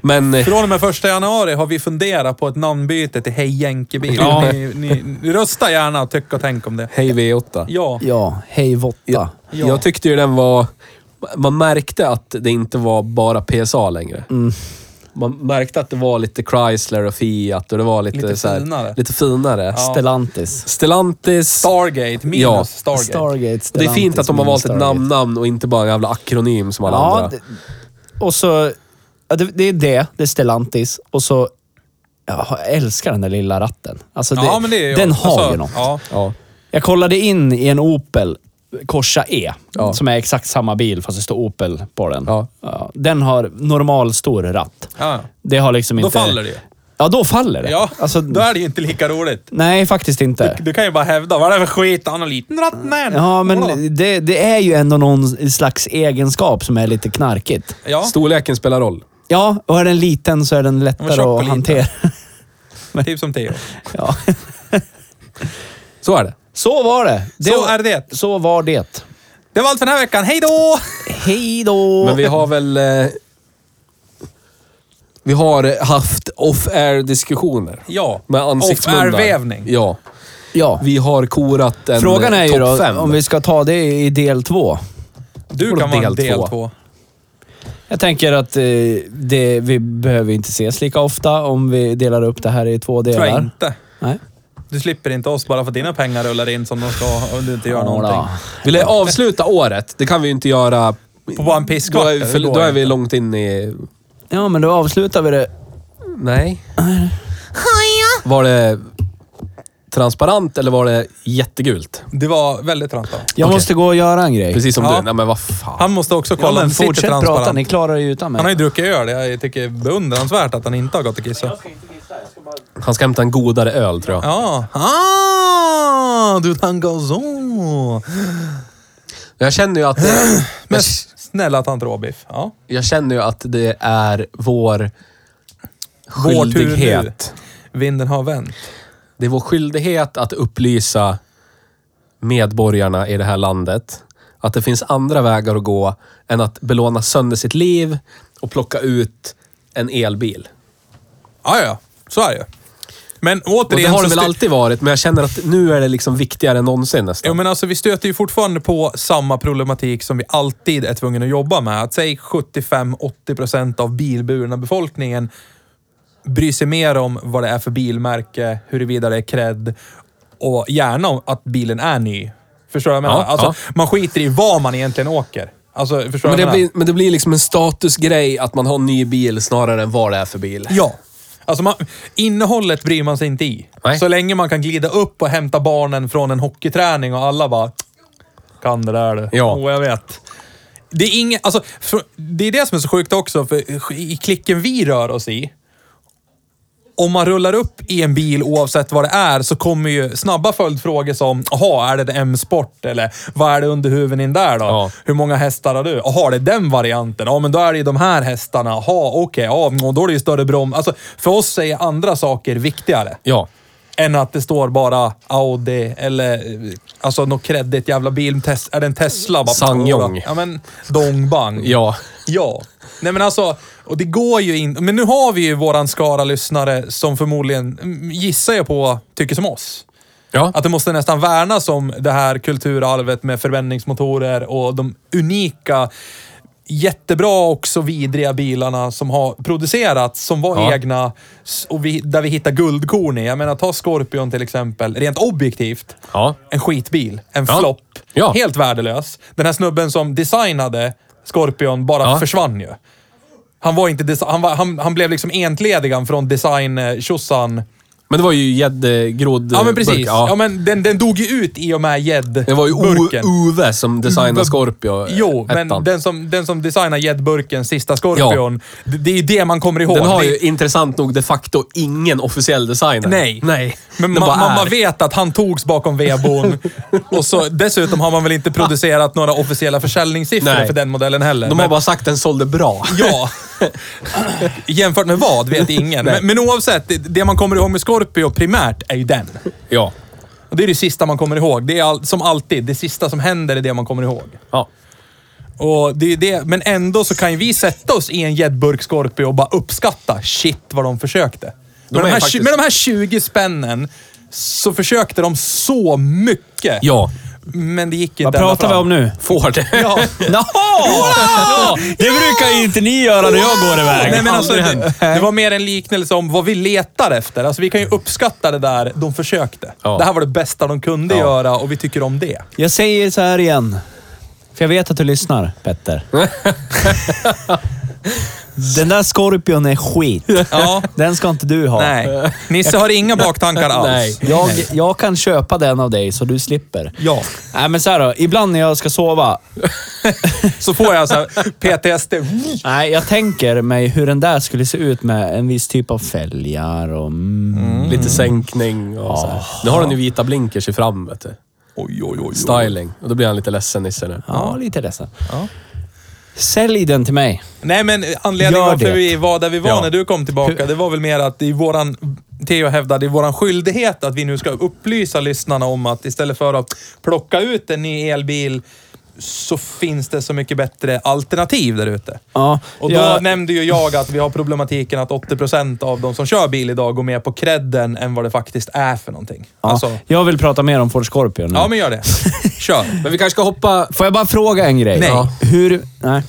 Men... eh,
Från och med första januari har vi funderat på ett namnbyte till Hej Jänkebil.
Ja.
Ni, ni, ni rösta gärna och tyck och tänk om det.
Hej V8.
Ja.
Ja, Hej Votta.
Jag, jag tyckte ju den var... Man märkte att det inte var bara PSA längre.
Mm.
Man märkte att det var lite Chrysler och Fiat och det var lite,
Lite
så här,
finare.
Lite finare.
Stellantis.
Stellantis.
Stargate minus
Ja.
Stargate.
Stargate. Stellantis.
det är fint att de har valt ett
Stargate.
namn, namn och inte bara en jävla akronym som alla
Ja,
andra.
det, och så... Ja, det, det är det. Det är Stellantis. Och så... Jag älskar den där lilla ratten. Alltså det,
ja, men det är ju-
den har
alltså,
ju något.
Ja.
Ja.
Jag kollade in i en Opel Corsa E,
Ja.
som är exakt samma bil fast det står Opel på den.
Ja.
den har normal stor ratt.
Ja.
Det har liksom
Då
inte...
faller det ju.
Ja, då faller det.
Ja,
Alltså,
då är det ju inte lika roligt.
Nej, faktiskt inte.
Du kan ju bara hävda, vad är det för skit? Han har liten rattnän.
Ja,
Vadå?
men det, det är ju ändå någon slags egenskap som är lite knarkigt.
Ja,
Storleken spelar roll.
Ja, och är den liten så är den lättare
tjock och
att
liten.
hantera.
typ som Theo.
Ja.
Så är det.
Så var det.
Så är det.
Så var det.
Det var allt för den här veckan. Hej då!
Hej då!
Men vi har väl... Eh, vi har haft off-air diskussioner.
Ja,
Med ansiktsmundar.
off-air-vävning.
Ja.
ja.
eh,
Vi har korat en
Frågan är
eh,
ju
topp
då
fem.
om vi ska ta det i del två.
Du
Vadå
kan vara en
del
del
två?
två.
Jag tänker att eh, det, vi behöver inte ses lika ofta om vi delar upp det här i två
Tror
delar.
jag inte.
Nej.
Du slipper inte oss bara för att dina pengar rullar in som de ska om du inte gör
Ja,
någonting.
då.
Vill jag avsluta året? Det kan vi ju inte göra...
På bara en pisskvart,
Då är, för,
det går
då är vi
inte.
långt in i...
Ja, men då avslutar vi det.
Nej. Var det transparent eller var det jättegult?
Det var väldigt transparent.
Jag
Okej.
måste gå och göra en grej.
Precis som
Ja.
du. Nej men vad fan.
Han måste också
Ja,
kolla om
men
det sitter
fortsätt prata, ni
transparent.
klarar ju utan
Han har
mig.
ju druckit öl. Jag tycker det är beundransvärt att han inte har gått och kissat.
Han ska hämta en godare öl tror jag.
Ja. Ah, du tankar så.
Jag känner ju att... Det,
Men snälla tant råbiff. Ja.
jag känner ju att det är vår
Vår tur nu.
skyldighet.
Vinden har vänt.
Det är vår skyldighet att upplysa medborgarna i det här landet att det finns andra vägar att gå än att belåna sönder sitt liv och plocka ut en elbil.
Ja, ja, ja. Så är det ju. Men
Och det
återigen...
har det
så
väl
stö-
alltid varit, men jag känner att nu är det liksom viktigare än någonsin
Ja,
nästan.
men alltså, vi stöter ju fortfarande på samma problematik som vi alltid är tvungna att jobba med. Att säg 75-80 procent av bilburna befolkningen bryr sig mer om vad det är för bilmärke, huruvida det är cred och gärna om att bilen är ny. Förstår du vad jag menar?
Ja,
alltså, Man skiter i vad man egentligen åker. Alltså, förstår du
Men
vad
det,
jag menar?
blir, men det blir liksom en statusgrej att man har en ny bil snarare än vad det är för bil.
Ja. Alltså man, innehållet bryr man sig inte i.
Nej.
Så länge man kan glida upp och hämta barnen från en hockeyträning och alla bara... Kan det där du.
Ja.
Oh, jag vet. Det är inget, alltså, för, det är det som är så sjukt också, för i klicken vi rör oss i, om man rullar upp i en bil oavsett vad det är så kommer ju snabba följdfrågor som, jaha, är det en M-sport? Eller vad är det under huven in där då?
Ja.
Hur många hästar har du? Jaha, det är den varianten. Ja, men då är det ju de här hästarna. Jaha, okej. ja, och då är det ju större brom. Alltså, för oss är andra saker viktigare.
Ja.
Än att det står bara Audi eller eh, alltså något kreddigt jävla bil. Tes- Är det en Tesla? Bara,
Sangyong.
Ja, men dongbang.
Ja.
Ja. Nej men alltså, och det går ju inte. Men nu har vi ju våran skara lyssnare som förmodligen, mm, gissar jag på, tycker som oss.
Ja.
Att det måste nästan värnas om det här kulturarvet med förbränningsmotorer och de unika, jättebra också vidriga bilarna som har producerats, som var
Ja.
egna s- och vi, där vi hittar guldkorn i. Jag menar, ta Scorpion till exempel, rent objektivt.
Ja.
En skitbil, en
Ja.
flopp,
Ja.
helt värdelös. Den här snubben som designade Scorpion bara
Ja.
försvann ju. Han, var inte desi- han, var, han, han blev liksom entledigan från eh, design-tjossan.
Men det var ju gäddgrodd...
Ja, men precis.
Eh, burk,
Ja. men den, den dog ju ut i och med
Det var ju O-
gäddburken.
Ove som designade
Uwe-
Scorpio. eh,
Mm, Jo, men
ettan.
den som, den som designar gäddburken, sista Scorpion, det, det är ju det man kommer ihåg.
Den har
Det-
ju intressant nog de facto ingen officiell designer.
Nej.
Nej.
Men
Den
ma-
bara
man,
är.
man vet att han togs bakom vedbon. och så, dessutom har man väl inte producerat några officiella försäljningssiffror
Nej.
för den modellen heller.
De
Men-
har bara sagt den sålde bra.
Ja. Jämfört med vad vet ingen.
Nej.
Men, men oavsett, det, det man kommer ihåg med Scorpio primärt är ju den.
Ja.
Och det är det sista man kommer ihåg. Det är all, som alltid, det sista som händer är det man kommer ihåg.
Ja.
Och det är det, men ändå så kan ju vi sätta oss i en gäddburk Scorpio och bara uppskatta shit vad de försökte. Med
är
de, här,
faktiskt-
tju- med de här 20 spännen så försökte de så mycket.
Ja.
Men det gick inte
Vad
ända
pratar vi
fram.
om nu?
Ford.
Ja.
Jaha! Ja, det brukar ju inte ni göra när jag går iväg.
Nej, men alltså,
Aldrig
det, det var mer en liknelse om vad vi letar efter. Alltså, vi kan ju uppskatta det där de försökte.
Ja.
Det här var det bästa de kunde
Ja.
göra och vi tycker om det.
Jag säger så här igen. För jag vet att du lyssnar, Petter. Den där Scorpion är skit.
Ja.
Den ska inte du ha.
Nej. Nisse har inga baktankar alls.
Nej.
Jag, jag kan köpa den av dig så du slipper.
Ja.
Nej, men så här då. Ibland när jag ska sova.
Så får jag så här PTSD.
Nej, jag tänker mig hur den där skulle se ut med en viss typ av fälgar och... Mm.
Lite sänkning och så här. Nu har den ju vita blinkers i fram, vet du.
Ah. Oj, oj, oj.
Styling. Och då blir han lite ledsen, Nisse, nu.
Ja, lite ledsen. Sälj den till mig.
Nej, men anledningen
Gör
varför
det.
vi var där vi var
Ja.
när du kom tillbaka, det var väl mer att det är våran, Theo hävdar, det är våran skyldighet att vi nu ska upplysa lyssnarna om att istället för att plocka ut en ny elbil så finns det så mycket bättre alternativ där ute.
Ja,
Och då
jag-
nämnde ju jag att vi har problematiken att 80% av de som kör bil idag går mer på credden än vad det faktiskt är för någonting. Ja,
Ja,
alltså,
Jag vill prata mer om Ford Scorpion nu.
ja men gör det. Kör.
Men vi kanske ska hoppa...
Får jag bara fråga en grej?
Nej.
Ja. Hur... Nej.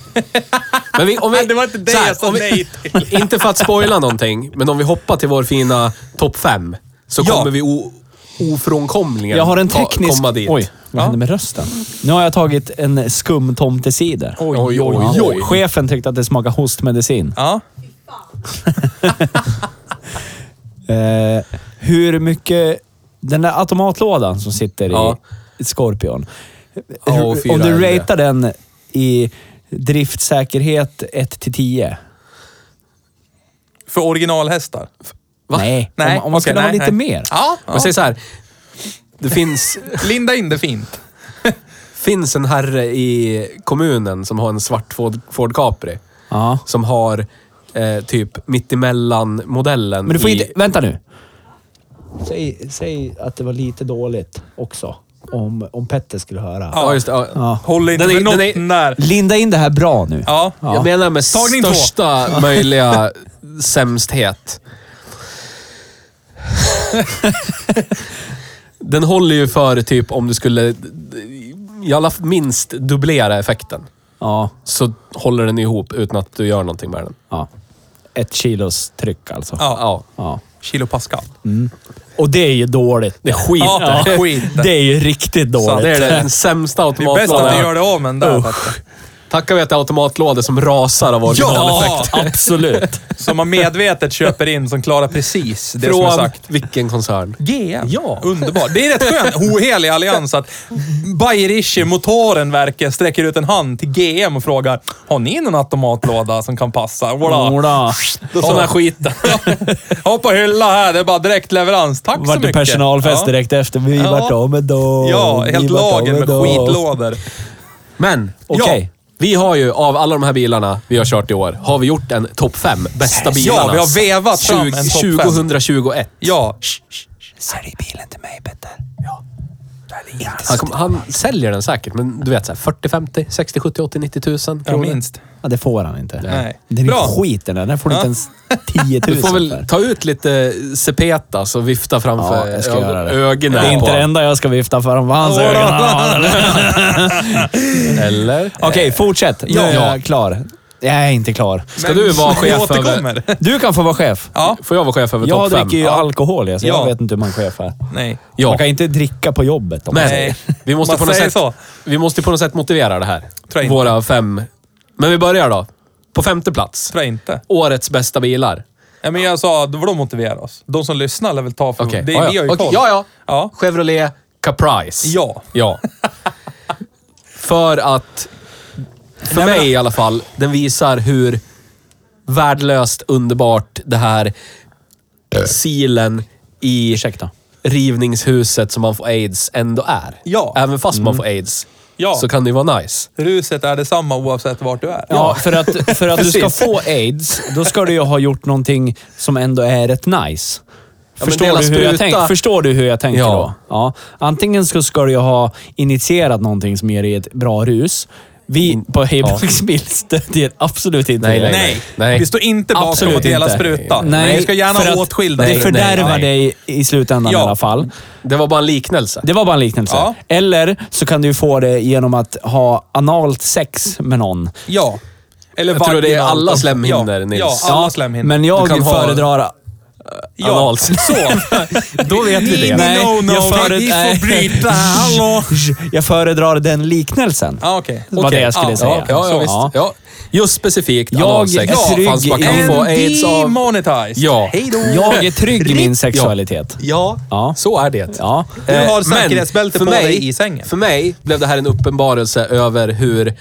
Men vi, om vi,
Det var inte det
så här,
jag sa
om vi-
nej
Inte för att spoila någonting, men om vi hoppar till vår fina topp fem så
Ja.
kommer vi o, ofrånkomligen
Jag har en
ta-
teknisk...
komma dit.
Oj, vad
Ja.
hände med rösten? Nu har jag tagit en skumtomtecider.
Oj, oj, oj.
Ja. Chefen tyckte att det smakade hostmedicin.
Ja.
Eh, hur mycket... Den där automatlådan som sitter
Ja.
i Scorpion.
Ja, och
Hur-
fyra
om
är
du
det.
ratear den i driftsäkerhet 1-10.
För originalhästar.
Va?
Nej,
Nej,
om, om man
okej,
skulle ha
nej,
lite
nej.
mer.
Ja,
Men
ja.
säg så här. Det finns,
Linda in det fint.
finns en herre i kommunen som har en svart Ford, Ford Capri.
Ja.
Som har eh, typ mittemellan-modellen
Men du får
i-
inte... Vänta nu. Säg, säg att det var lite dåligt också. Om, om Petter skulle höra.
Ja, just det. Ja.
Ja.
Håll inte
Den är-
för
den är-
noten där.
Linda in det här bra nu.
Ja.
Jag menar med
Tagning två.
största möjliga sämsthet. Den håller ju för typ om du skulle i alla fall minst dubblera effekten.
Ja.
Så håller den ihop utan att du gör någonting med den.
ja. Ett kilos tryck alltså.
Ja.
Ja.
Ja.
Kilo Pascal.
Och det är ju dåligt.
Det är skit.
Ja, skit.
Det är ju riktigt
Det
dåligt.
är den sämsta
Det är bäst att du
automatladdaren.
gör det av med den där.
Usch.
faktiskt.
Tackar vi att det är automatlådor som rasar av originaleffekt.
Absolut.
Som man medvetet köper in, som klarar precis det som är
Från
sagt.
vilken koncern?
GM.
Ja.
Underbart. Det är rätt skönt. Ohelig allians att Bayerische Motorenwerke sträcker ut en hand till GM och frågar Har ni någon automatlåda som kan passa? Voilà.
Ola.
Då sa den skiten. Ha på hylla här. Det är bara direktleverans. Tack så
Vart det
mycket.
personalfest
Ja.
direkt efter. Vi
Ja.
vart av med dem.
Ja,
Vi
helt
vart av
lager med
dem.
skitlådor.
Men,
Okej.
vi har ju av alla de här bilarna vi har kört i år, har vi gjort en topp fem bästa bilarna.
vi har vevat fram en topp fem.
2021.
Ja.
Sälj bilen till mig, Petter. Ja.
Han, kom, han säljer den säkert, men du vet så här, 40, 50, 60, 70, 80, 90 tusen
Ja, minst.
Ja, det får han inte.
Nej.
Den
Bra.
är skit den där. Den får du
Ja.
inte ens 10 000
Du får väl
för.
ta ut lite sepetas och vifta
Ja,
framför
jag ska göra det. Det
ögonen
är inte
på
det enda jag ska vifta för. Vad hans
Ola.
ögon har.
Eller?
Okej, fortsätt. Nu
ja.
är Eh, jag klar. Jag är inte klar.
Ska du vara
vi
chef över...
återkommer.
Du kan få vara chef.
Ja.
Får jag vara chef över
Jag
topp fem?
dricker ju
Ja.
alkohol, jag, så
Ja.
jag vet inte hur man är chef är.
Nej.
Ja.
Man kan inte dricka på jobbet. Om man
Men
Nej.
vi måste,
Man
på något
säger
sätt,
så.
vi måste på något sätt motivera det här.
Tror jag inte.
Våra fem... Men vi börjar då. På femte plats.
Tror jag inte.
Årets bästa bilar.
Ja, men jag sa, då var de motivera oss. De som lyssnar lär väl ta för...
Okej.
Det,
ja,
Vi har
ja.
ju
Okej,
koll.
ja, ja.
Ja.
Chevrolet Caprice.
Ja.
Ja. För att... För mig i alla fall, den visar hur värdelöst underbart det här
Äh.
silen i
Ursäkta.
rivningshuset som man får aids ändå är.
Ja. Mm.
Även fast man får aids
Ja.
så kan det ju vara nice.
Ruset är detsamma oavsett vart du är.
Ja, för att, för att du ska
Precis.
få aids, då ska du ju ha gjort någonting som ändå är rätt nice.
men
Förstår,
dela
du hur jag
spruta.
tänk, förstår du hur jag tänker
Ja.
då? Ja. Antingen så ska du ju ha initierat någonting som ger dig ett bra rus. Vi på Hejbacks bil stödjer absolut inte
Mm. Nej,
det.
nej,
Nej.
Nej.
vi står inte bakom
Absolut
att dela
inte.
spruta.
Nej,
vi ska gärna
för att
åtskilda
Det
er.
fördärvar
nej.
dig i slutändan
Ja.
i alla fall.
Det var bara en liknelse.
Det var bara en liknelse.
Ja.
Eller så kan du få det genom att ha analt sex med någon.
Ja. Eller
Jag tror det är
vaginalt
alla
också.
slemhinnor,
ja.
Nils.
Ja, alla
Ja,
slemhinnor.
Men
Du
jag
kan ha-
föredrar...
ja.
Analt.
Så.
Då vet vi
Nej,
det. Nej,
no, no.
jag före-
Vi
nej.
får bryta. Hallå.
Jag föredrar den liknelsen.
Ja, Ah, okej.
Vad det jag skulle
ja,
säga.
Ja, ja, ja,
Så,
visst.
ja.
Ja. Just specifikt
Jag
analsex.
är
Ja,
trygg
fanns man kan
i-
få aids av...
Demonetized.
Ja.
Hej då.
Jag är trygg i min sexualitet.
Ja,
Ja.
så är det.
Ja.
Du
Eh,
har
men
säkerhetsbälte
för
på
mig-
dig i sängen.
För mig blev det här en uppenbarelse över hur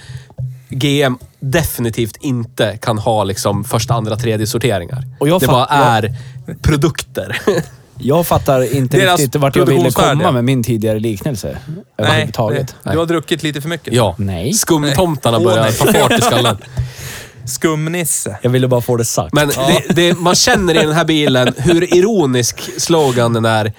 GM definitivt inte kan ha liksom första, andra, tredje sorteringar.
Och jag
det
fatt-
bara är produkter.
Jag fattar inte
Deras
riktigt vart jag ville
produktionsvärde.
komma med min tidigare liknelse.
Nej,
Överhuvudtaget.
det- du har druckit lite för mycket.
ja.
Nej.
Skumtomtarna
Nej. Åh,
börjar
nej.
ta fart i skallen.
Skumnisse.
Jag ville bara få det sagt.
Men det, det, man känner i den här bilen hur ironisk sloganen är.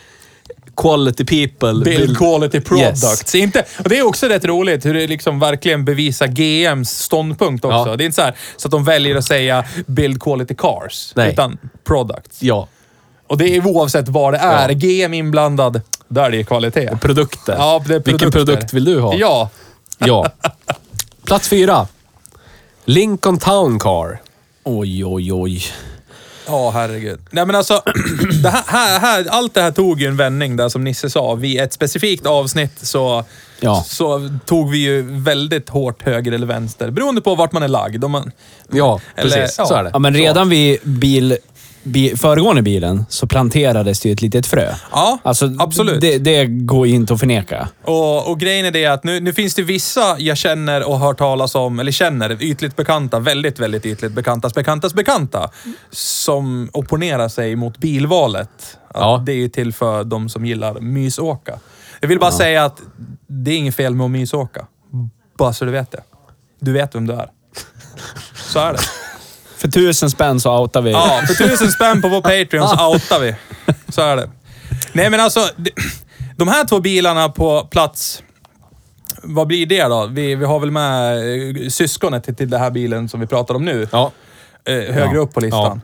Quality people.
Build quality products.
Yes.
Inte, och det är också rätt roligt hur det liksom verkligen bevisar GMs ståndpunkt också.
Ja.
Det är inte så, här, så att de väljer att säga build quality cars,
Nej.
utan products.
Ja,
Och det är oavsett vad det är.
Ja.
GM inblandad, där är det kvalitet.
produkter.
Ja, det är produkter.
Vilken produkt vill du ha?
Ja.
Ja. Plats fyra. Lincoln Town Car.
Oj, oj, oj.
Ja, herregud. Nej, men alltså, det här, här, här, allt det här tog ju en vändning där som Nisse sa. Vid ett specifikt avsnitt så,
Ja.
så tog vi ju väldigt hårt höger eller vänster, beroende på vart man är lagd. Om man,
Ja,
Eller-
precis.
ja.
Så är det.
Ja, men redan vid bil, bi, föregående bilen så planterades det ju ett litet frö. Alltså,
Ja, absolut.
Det, det går ju inte att förneka.
Och, och grejen är det att nu, nu finns det vissa jag känner och hört talas om, eller känner, ytligt bekanta, väldigt, väldigt ytligt bekantas bekantas bekanta, som opponerar sig mot bilvalet. Att
Ja.
Det är ju till för de som gillar mysåka. Jag vill bara säga att det är inget fel med att mysåka. Bara så du vet det. Du vet vem du är. Så är det.
För tusen spänn så outar vi.
Ja, för tusen spänn på vår Patreon så outar vi. Så är det. Nej, men alltså. d- De här två bilarna på plats... Vad blir det då? Vi, vi har väl med eh, syskonet till, till den här bilen som vi pratar om nu.
Ja.
Eh, högre upp på listan.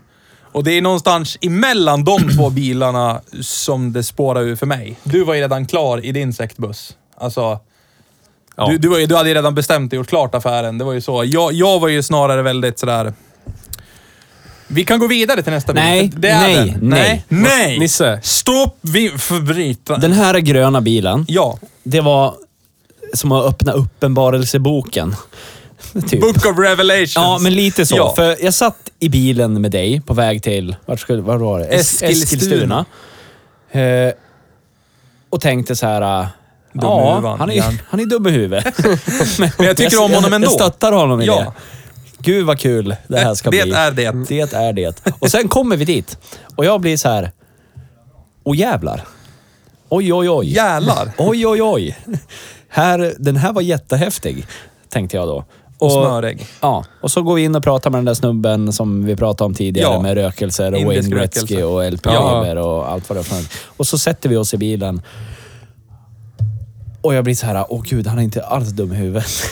Och det är någonstans emellan de två bilarna som det spårar ur för mig. Du var ju redan klar i din sektbuss. Alltså,
Ja.
du, du, var ju, du hade ju redan bestämt och gjort klart affären. Det var ju så. Jag, jag var ju snarare väldigt sådär... Vi kan gå vidare till nästa
Nej,
bil. Det är
nej,
den.
nej.
nej.
Nisse.
Stopp! Vi förbryter.
Den här gröna bilen,
Ja.
det var som att öppna uppenbarelseboken. Typ.
Book of Revelations.
Ja, men lite så.
Ja.
För jag satt i bilen med dig på väg till, vart skulle, var var det? Es-
Eskilstuna.
Eskilstuna. Eh, och tänkte så här... eh,
Dum i
ja,
huvan
han är,
igen.
han är dum i huvudet. men,
jag tycker om honom ändå.
Jag stöttar honom i
Ja.
det. Gud vad kul det här ska
Det
bli.
är det.
Det är det. Och sen kommer vi dit. Och jag blir så här... Åh jävlar. Oj, oj, oj.
Jävlar.
Oj, oj, oj. Här, den här var jättehäftig, tänkte jag då.
Och smörig.
Ja, och så går vi in och pratar med den där snubben som vi pratade om tidigare
Ja.
med rökelser och
Indisk
Wayne Gretzky
rökelse.
och LP
Ja.
Weber och allt vad det var för något. Och så sätter vi oss i bilen. Och jag blir så här, åh gud, han är inte alls dum i huvudet.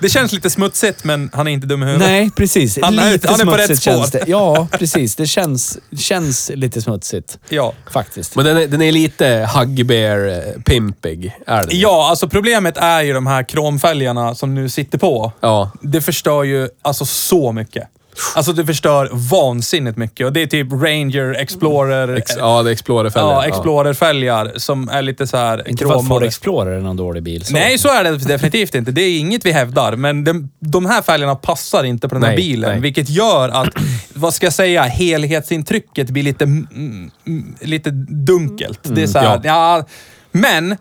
Det känns lite smutsigt, men han är inte dum i huvudet.
Nej, precis.
Han är-
lite
han är på
smutsigt
rätt spår.
Känns det. Ja, precis. Det känns, känns lite smutsigt.
Ja.
Faktiskt.
Men den är, den är lite Huggy Bear eh, pimpig, är den.
Ja, alltså problemet är ju de här kromfälgarna som nu sitter på.
Ja.
Det förstör ju alltså så mycket. Alltså det förstör vansinnigt mycket och det är typ Ranger, Explorer,
Ex- ja, det är Explorer-fälgar.
ja, Explorer-fälgar som är lite så här
Inte för att Ford
kromade.
Explorer är någon dålig bil. Så.
Nej, så är det definitivt inte. Det är inget vi hävdar, men de, de här fälgarna passar inte på den här
Nej,
bilen.
nej.
Vilket gör att, vad ska jag säga, helhetsintrycket blir lite, mm, mm, lite dunkelt. det är så här, ja. men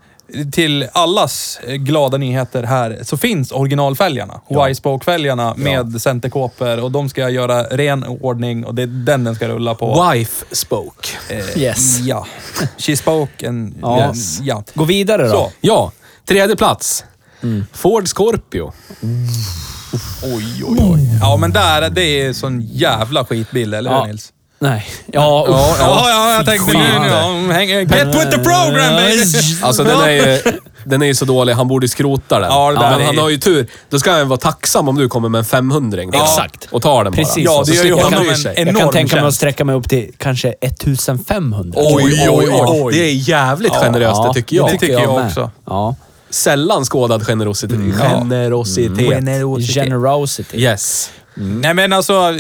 till allas eh, glada nyheter här så finns originalfälgarna. Y-spoke-fälgarna med centerkåpor och de ska göra ren ordning och det är den den ska rulla på. Eh,
Wife spoke.
Yes.
Ja. She spoke and...
Ja.
ja.
Gå vidare då.
Så.
Ja, tredje plats. Ford Scorpio.
Mm. Oj, oj, oj. Ja, men där, det är sån jävla skitbild, eller hur
Ja.
Nils?
Nej. Ja,
Ja,
usch.
ja, jag tänkte nu,
fan.
ja, häng- Get with the program baby!
Alltså den är, ju, den är ju så dålig, han borde ju skrota den.
Ja, det där
men
är-
han har ju tur. Då ska han vara tacksam om du kommer med en 500
Ja.
Exakt. Och tar den
Precis.
bara.
Ja,
Och så
det gör ju
slipper han
honom
bry
en-
sig.
en-
Jag kan
enorm
tänka mig att
tjänst.
sträcka mig upp till kanske 1500.
Oj, oj, oj,
Oj.
Det är jävligt generöst, det tycker jag.
det tycker jag
med.
också.
Ja.
Sällan skådad generositet. Generositet.
Generosity.
Yes.
Nej men alltså,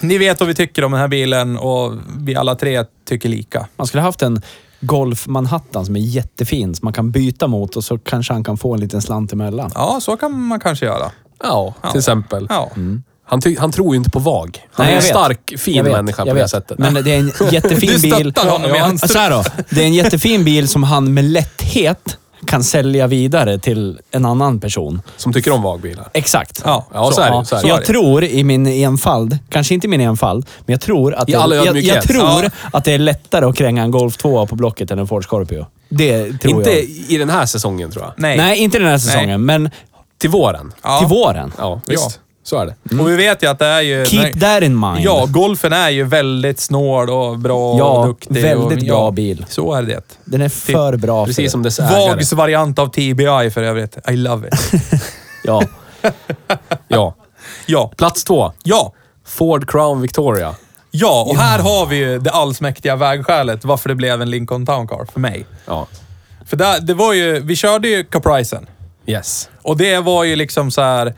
ni vet vad vi tycker om den här bilen och vi alla tre tycker lika.
Man skulle haft en Golf Manhattan som är jättefin, som man kan byta mot och så kanske han kan få en liten slant emellan.
Ja, så kan man kanske göra.
Ja, till exempel. Mm.
Ja.
Han, ty- han tror ju inte på VAG.
Nej,
Han är en
jag vet.
stark, fin
Jag vet,
människa på
jag
det
vet.
sättet.
Men det är en
Du
jättefin
stöttar
bil.
honom i hans
så här då. Det är en jättefin bil som han med lätthet kan sälja vidare till en annan person.
Som tycker om VAG-bilar.
Exakt.
Ja,
Ja, så är det. Så är det.
jag tror i min enfald, kanske inte i min enfald, men jag tror att,
I
det,
all
jag,
ödmjukhet.
jag tror
Ja.
att det är lättare att kränga en Golf 2 på Blocket än en Ford Scorpio. Det tror
Inte
jag.
i den här säsongen tror jag.
Nej.
Nej, inte den här säsongen,
Nej.
men
Till våren.
Ja.
till våren.
Ja, visst. Så är det.
Och vi vet ju att det är ju...
Keep
nej-
that in mind.
Ja, golfen är ju väldigt snål och bra
Ja,
och duktig.
väldigt
och,
bra bil.
Så är det.
Den är för bra för
Precis som
det.
dess ägare.
Vags variant av TBI för övrigt. I love it.
Ja.
Ja.
Ja,
Plats två.
ja.
Ford Crown Victoria.
Ja, och här har vi ju det allsmäktiga vägskälet varför det blev en Lincoln Town Car för mig.
Ja.
För där, det var ju, vi körde ju Capricen
Yes.
och det var ju liksom så här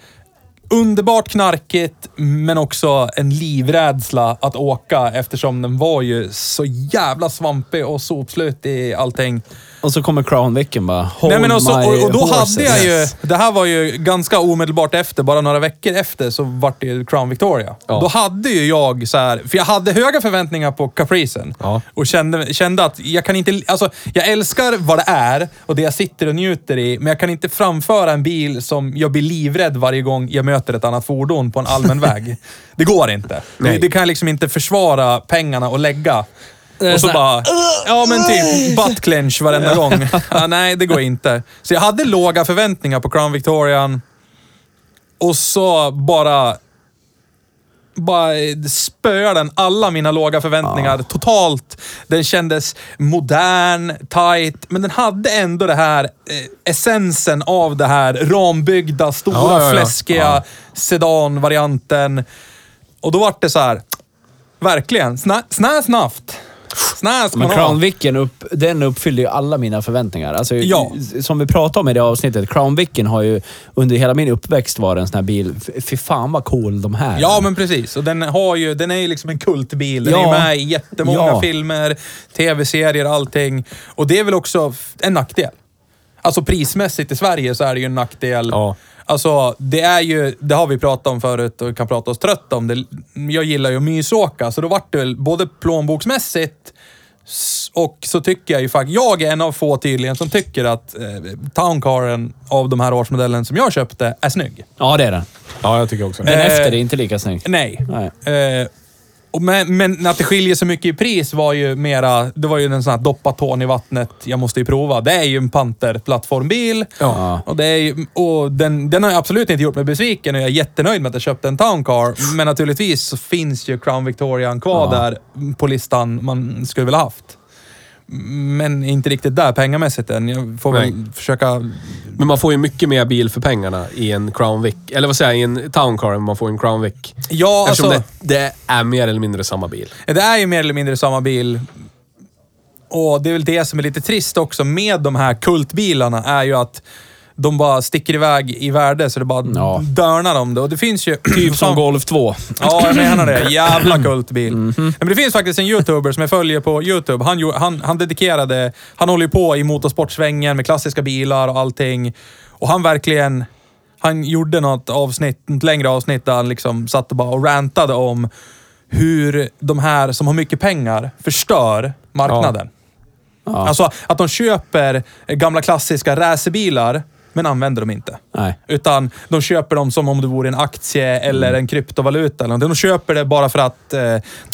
underbart knarkigt men också en livrädsla att åka eftersom den var ju så jävla svampig och sopslut i allting.
Och så kommer Crown Vicken bara.
Nej, men
"Hold
alltså,
också,
my
och, och då
horses."
hade jag ju... Det här var ju ganska omedelbart efter, bara några veckor efter, så vart det ju Crown Victoria.
Ja.
Då hade ju jag så här, för jag hade höga förväntningar på Capricen.
Ja.
Och kände, kände att jag kan inte... Alltså, jag älskar vad det är och det jag sitter och njuter i, men jag kan inte framföra en bil som jag blir livrädd varje gång jag möter ett annat fordon på en allmän väg. Det går inte. Det,
Nej.
det kan jag liksom inte försvara pengarna och lägga. Och så
så här,
bara... Ja, men typ butt clench varenda gång. Ja, nej, det går inte. Så jag hade låga förväntningar på Crown Victorian. Och så bara... Bara spöade den alla mina låga förväntningar totalt. Den kändes modern, tight, men den hade ändå det här eh, essensen av det här rambyggda, stora,
Ja, ja, ja.
fläskiga
Ja.
sedanvarianten. Och då var det så här, verkligen, snä, snä snabbt. Snä ska
Men
man ha.
Crown Vicken upp, den uppfyllde ju alla mina förväntningar. Alltså,
Ja.
Som vi pratade om i det avsnittet, Crown Vicken har ju under hela min uppväxt varit en sån här bil. F- Fy fan vad cool de här
Ja, men precis. Och den, har ju, den är ju liksom en kultbil. Den
Ja.
är ju med i jättemånga
Ja.
filmer, tv-serier, allting. Och det är väl också f- en nackdel. Alltså prismässigt i Sverige så är det ju en nackdel.
Ja.
Alltså, det är ju, det har vi pratat om förut och kan prata oss trött om. Det, jag gillar ju att mysåka, så då vart det väl både plånboksmässigt s- och så tycker jag ju faktiskt, jag är en av få tydligen som tycker att eh, Towncaren av de här årsmodellen som jag köpte är snygg.
Ja, det är den.
Ja, jag tycker också det.
Den
Eh,
efter är inte lika snygg.
Nej.
Nej.
Eh, och men, men att det skiljer så mycket i pris var ju mera... Det var ju en sån här doppa tån i vattnet, jag måste ju prova. Det är ju en Panther plattformbil.
Ja.
Och, det är ju, och den, den har jag absolut inte gjort mig besviken och jag är jättenöjd med att jag köpte en Town Car. Men naturligtvis så finns ju Crown Victorian kvar där på listan man skulle vilja haft. Men inte riktigt där pengamässigt än. Jag får väl
Nej.
försöka...
Men man får ju mycket mer bil för pengarna i en Crown Vic. Eller vad säger jag, i en Town Car än man får i en Crown Vic.
Ja,
Eftersom
alltså-
det, det är mer eller mindre samma bil.
Det är ju mer eller mindre samma bil. Och det är väl det som är lite trist också med de här kultbilarna är ju att de bara sticker iväg i värde så det bara
Ja.
dörnar om det. Och det finns ju...
Typ som Golf 2.
Ja, jag menar det. Jävla kultbil. Nej, Men det finns faktiskt en youtuber som jag följer på YouTube. Han, gjo- han, han dedikerade... Han håller ju på i motorsportsvängen med klassiska bilar och allting. Och han verkligen... Han gjorde något avsnitt, ett längre avsnitt där han liksom satt och bara och rantade om hur de här som har mycket pengar förstör marknaden. Alltså att de köper eh, gamla klassiska racerbilar, men använder dem inte.
Nej.
Utan de köper dem som om det vore en aktie eller en kryptovaluta. Eller någonting. de köper det bara för att, eh,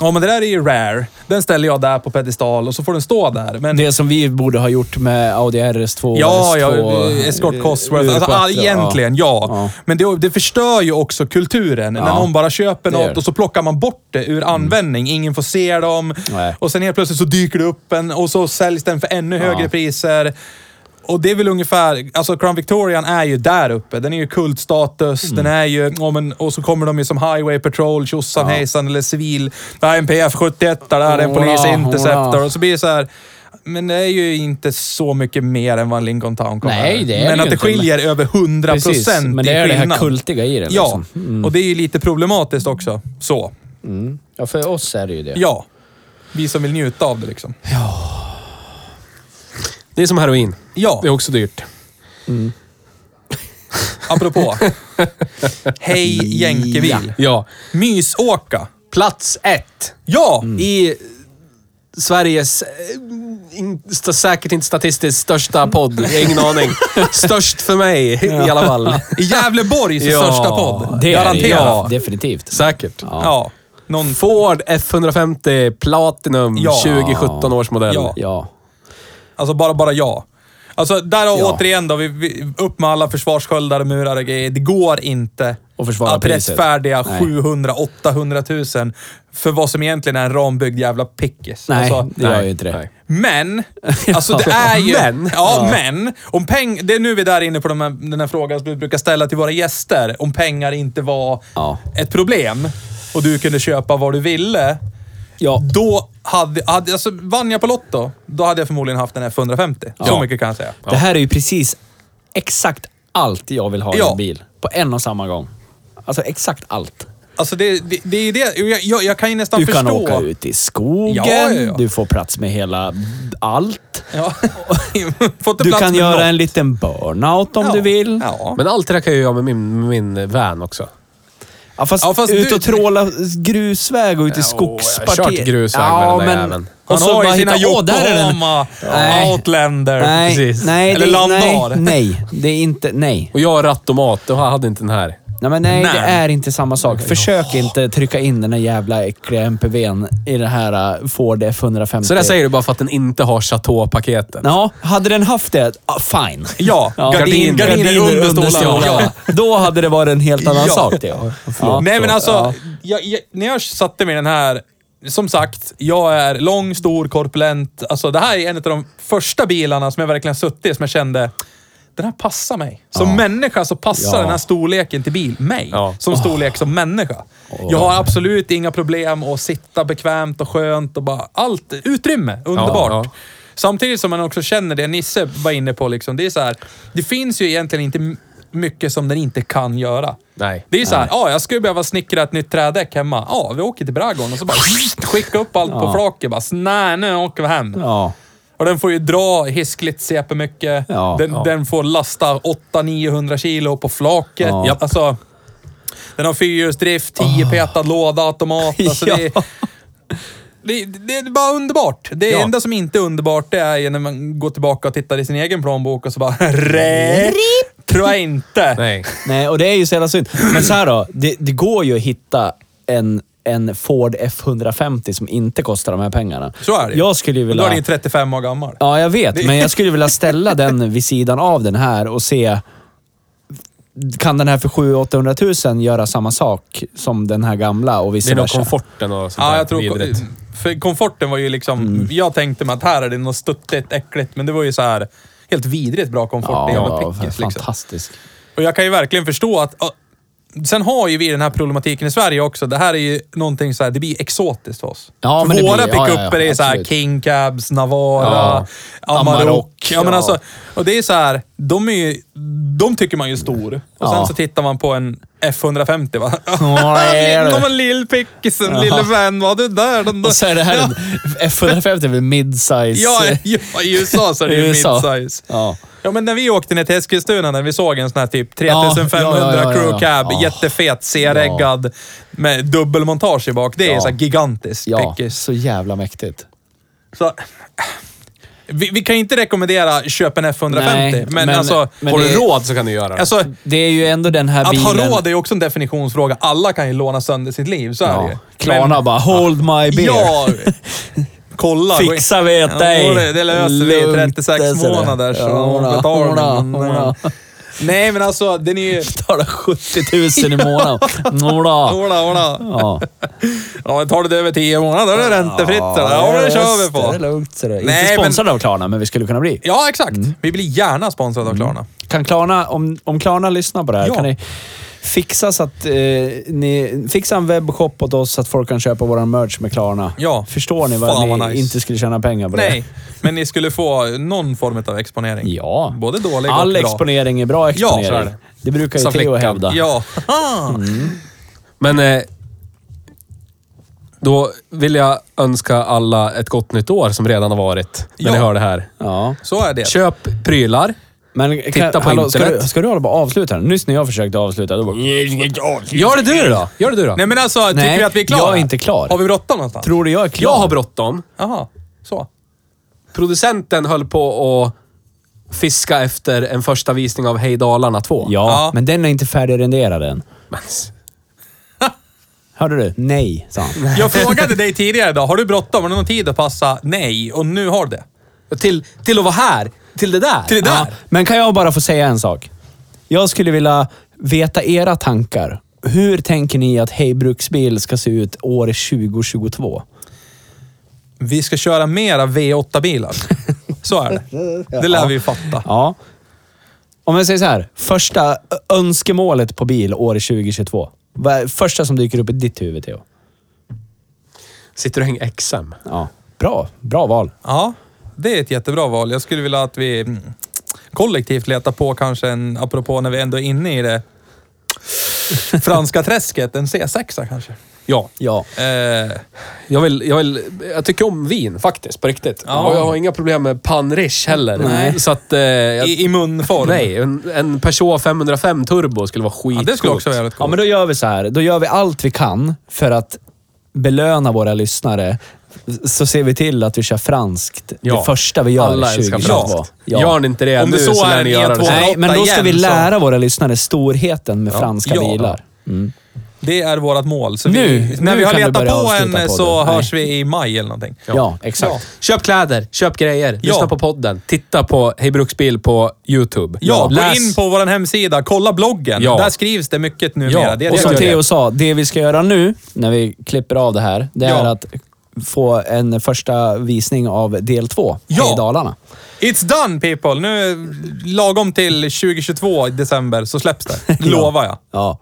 ja men det där är ju rare. Den ställer jag där på pedestal och så får den stå där. Men
Det som vi borde ha gjort med Audi RS2.
Ja,
RS2,
ja. Escort Cosworth.
eh,
Alltså, all,
urquattro,
egentligen, ja.
Ja.
Men det, det förstör ju också kulturen. När
Ja.
någon bara köper
Det gör
något
det. Mm.
och så plockar man bort det ur användning. Ingen får se dem.
Nej.
Och sen helt plötsligt så dyker det upp en och så säljs den för ännu högre priser. Och det är väl ungefär, alltså Crown Victorian är ju där uppe. Den är ju kultstatus,
Mm.
den är ju, ja, men, och så kommer de ju som Highway Patrol, tjosan hejsan eller civil. Det här är en PF 71, det här är en
Hurra,
Police Interceptor.
hurra.
Och så blir det så här, men det är ju inte så mycket mer än vad en Lincoln Town kommer.
Nej, det
Men
är det ju
att det
inte,
skiljer över 100
Precis,
procent
men det är det här kultiga i det.
Ja,
Liksom.
och det är ju lite problematiskt också. Så,
ja, för oss är det ju det.
ja. Vi som vill njuta av det liksom.
Det är som heroin.
Ja,
Det är också dyrt.
apropå. Hej jänkebil.
Ja.
Mysåka.
Plats ett.
Ja!
I Sveriges, eh, in, sta- säkert inte statistiskt, största podd. Jag har ingen aning. Störst för mig i alla fall.
I Gävleborgs
Ja,
största podd.
Det är det ju.
Garanterat.
Ja,
Ja.
definitivt.
Säkert.
ja. Någon
Ford F150 Platinum
Ja.
2017 års modell.
Ja.
Ja.
Alltså bara, bara ja. Alltså där har
Ja.
återigen då, vi, vi, upp med alla försvarssköldar och murar och grejer. Det går inte
Och försvara
att
priset.
rättfärdiga
Nej.
700-800 000 för vad som egentligen är en rambyggd jävla pickis.
Nej,
Alltså,
det gör ju inte det.
nej.
men, alltså det är ju...
Men.
Ja, men. Om peng, det är nu vi är där inne på de här, den här frågan som vi brukar ställa till våra gäster. Om pengar inte var
Ja.
ett problem och du kunde köpa vad du ville.
Ja.
Då hade, hade alltså, vann jag på Lotto, då hade jag förmodligen haft den här 150. Så
Ja.
mycket kan jag säga.
Det här är ju precis exakt allt jag vill ha i
Ja.
en bil. På en och samma gång. Alltså exakt allt.
Alltså det, det, det är ju det. Jag, jag, jag kan ju nästan
Du
förstå.
kan åka ut i skogen,
Ja, ja, ja.
du får plats med hela allt.
Ja. Får inte
Du
plats
kan
med
göra
något.
en liten burnout om
Ja.
du vill. Ja.
Ja.
Men allt det där kan jag göra med min, med min van också.
fast,
Ja, fast
ut
du-
och tråla grusväg och ut i
jag har
skogspartiet.
kört grusväg med den där jäveln.
Han
och så
har
bara
ju sina
hitta, "Åh, där är den."
Yokohama,
Nej.
Outlander.
Nej, nej,
Eller
det,
Landar.
nej, nej, det är inte, nej.
Och jag har rattomat och jag hade inte den här.
Nej, men nej, det
Nej.
är inte samma sak. Försök inte trycka in den här jävla äckliga MPVn i den här uh, Ford F150.
Så det säger du bara för att den inte har Chateau-paketet.
Ja, hade den haft det, ah, fine.
Ja, gardin- gardiner under stolarna.
Då hade det varit en helt annan
Ja.
sak. Det. Ja,
Nej,
så,
men alltså,
ja.
jag, jag, när jag satte mig i den här... Som sagt, jag är lång, stor, korpulent. Alltså, det här är en av de första bilarna som jag verkligen suttit i som jag kände, den här passar mig. Som människa så passar
Ja.
den här storleken till bil mig.
Ja.
Som storlek som människa. Jag har absolut inga problem att sitta bekvämt och skönt och bara allt. Utrymme, underbart.
Ja, ja.
Samtidigt som man också känner det Nisse var inne på, liksom, det är så här, det finns ju egentligen inte m- mycket som den inte kan göra.
Nej.
Det är så här, ja, jag skulle behöva snickra ett nytt trädäck hemma. Ja, vi åker till Bragon och så bara skicka upp allt på flaket. Bara, nej, nu åker vi hem.
Ja.
Och den får ju dra hiskligt CP mycket.
Ja,
den,
ja.
den får lasta 800-900 kilo på flaket.
Ja. Ah.
Japp. Alltså, den har fyrhjulsdrift, 10 petad låda, automat. Alltså
Ja.
det, det, det är bara underbart. Det
Ja.
enda som inte är underbart det är ju när man går tillbaka och tittar i sin egen plånbok och så bara RIP! Tror jag inte.
Nej.
Nej, och det är ju så jävla synd. Men så här då, det, det går ju att hitta en, en Ford F150 som inte kostar de här pengarna.
Så är det ju.
Jag skulle ju
Då
vilja...
är den ju 35 år gammal.
Ja, jag vet. Men jag skulle vilja ställa den vid sidan av den här och se... Kan den här för 700 800 000 göra samma sak som den här gamla och
Det
vice
är nog
versa?
komforten och sånt
Ja,
där
jag tror...
vidrigt.
För komforten var ju liksom...
Mm.
Jag tänkte mig att här är det något stuttigt, äckligt, men det var ju så här helt vidrigt bra komfort i jävla
Ja,
pickis liksom.
fantastisk.
Och jag kan ju verkligen förstå att... ja, Sen har ju vi den här problematiken i Sverige också. Det här är ju någonting så här, det blir exotiskt för oss.
Ja, men det
Våra
blir- ja,
pickuper
ja, ja,
är så här
absolut.
King Cabs, Navara, Amarok.
Amarok,
ja, men
ja.
alltså, och det är så här, de, är ju, de tycker man ju är stor. Och sen
Ja.
så tittar man på en F150 va?
Ja, det är det.
De har lillpickisen, lille vän. Vad du där? Den där.
Och så är det här en F150 med midsize. eh,
Ja, ja, i USA så är det ju
USA.
midsize.
Ja.
Ja, men när vi åkte ner till Eskilstuna, när vi såg en sån här typ 3500
Ja, ja, ja, ja,
crew cab,
ja.
jättefet, C-reggad, med dubbelmontage i bak. Det är
Ja.
så här gigantisk
ja,
pickis.
så jävla mäktigt.
Så, äh, vi, vi kan ju inte rekommendera köp en F150,
Nej,
men,
men-
alltså...
men
Har
det-
du råd så kan du göra det.
alltså
Det är ju ändå den här
att
bilen...
ha råd är ju också en definitionsfråga. Alla kan ju låna sönder sitt liv, så är det ju.
Ja. Klarna
Men-
bara, hold my beer.
Ja! Kolla.
Fixa vet
Ja,
dig.
det, det löser vi i
Lugnt,
36
alltså det.
månader, så
Ja, hona,
betalning.
hona, hona.
Nej, men alltså, den är ju...
betalar 70 000 i månaden. Några.
Ola, ola.
Ja.
Ja, tar du det över 10 månader då är det räntefritt. så där. Ja, det kör vi
Det är
på.
lugnt. Mm. Så det.
Nej,
Inte
men-
sponsrade av Klarna, men vi skulle kunna bli.
Ja, exakt. Vi blir gärna sponsrade av
Mm,
Klarna.
Kan Klarna, om, om Klarna lyssnar på det här,
Ja.
kan ni fixa, så att, eh, ni, fixa en webbshop åt oss så att folk kan köpa vår merch med Klarna?
Ja.
Förstår ni vad
Fan,
ni
vad nice.
inte skulle tjäna pengar på
Nej, men ni skulle få någon form av exponering.
det? Ja.
Både dålig och
All
bra.
exponering är bra exponering.
så är det.
det. brukar ju
Sa
Theo
flickan.
hävda. Mm.
Ja.
Men eh, då vill jag önska alla ett gott nytt år som redan har varit. När
Ja.
ni hör det här.
Ja.
Så är det.
Köp prylar.
Men kan,
Titta på
ska, du,
internet.
ska du hålla på att avsluta den? Nyss när jag försökte avsluta, då bara...
Gör det du då! Gör det du då.
Nej, men alltså, tycker
Nej,
vi att vi är klara?
jag är inte klar.
Har vi bråttom någonstans?
Tror du jag är klar?
jag har bråttom.
Jaha, så.
Producenten höll på att fiska efter en första visning av Hej Dalarna 2.
Ja,
Ja.
men den är inte färdigrenderad än.
Men,
Hörde du? Nej, sa han.
Jag frågade dig tidigare idag, har du bråttom? Har du någon tid att passa? Nej, och nu har du det.
till, till att vara här. Till det där.
Till det där.
Ja, men kan jag bara få säga en sak? Jag skulle vilja veta era tankar. Hur tänker ni att Hej Bruksbil ska se ut år 2022?
Vi ska köra mera V8-bilar. Så är det. Det lär vi ju fatta.
Ja. Om jag säger så här. Första ö- önskemålet på bil år 2022. Vad är första som dyker upp i ditt huvud, Theo?
Sitter du och hänger XM?
Ja. Bra. Bra val.
Ja, det är ett jättebra val. Jag skulle vilja att vi mm, kollektivt letar på kanske en, apropå när vi ändå är inne i det franska träsket, en C6 kanske.
Ja.
Ja.
Eh,
Jag, vill, jag, vill, jag tycker om vin faktiskt, på riktigt.
Ja.
Och jag har inga problem med panrish heller.
Nej.
Så att... Eh, jag,
i, I munform.
nej, en, en Peugeot 505 Turbo skulle vara skitcoolt.
Ja, det skulle också vara jävligt
Ja,
coolt.
men då gör vi så här. Då gör vi allt vi kan för att belöna våra lyssnare. Så ser vi till att vi kör franskt.
Ja.
Det första vi gör
Alla älskar
2022.
franskt.
Ja.
Gör ni inte det
Om det
nu
så
så,
är
lär ni
en
göra det.
E208
Nej.
Nej, men då ska
igen,
vi
så-
lära våra lyssnare storheten med franska
Ja.
bilar.
Det är vårt mål. Så vi,
Nu-
när
nu
vi har
kan vi
letat
börja
på en eh,
avsluta
så
podden. Nej.
hörs vi i maj eller någonting.
Ja, exakt.
Köp kläder, köp grejer, lyssna på podden, titta på Hej Bruksbil på YouTube.
Ja,
Läs-
gå in på vår hemsida, kolla bloggen.
Ja.
Där skrivs det mycket numera.
Ja,
Det är
Och
det
som
jag gör.
Theo sa, det vi ska göra nu när vi klipper av det här, det är
Ja.
att få en första visning av del två
Ja.
i Dalarna.
It's done people! Nu lagom till 2022 i december så släpps det. Lovar jag.
Ja.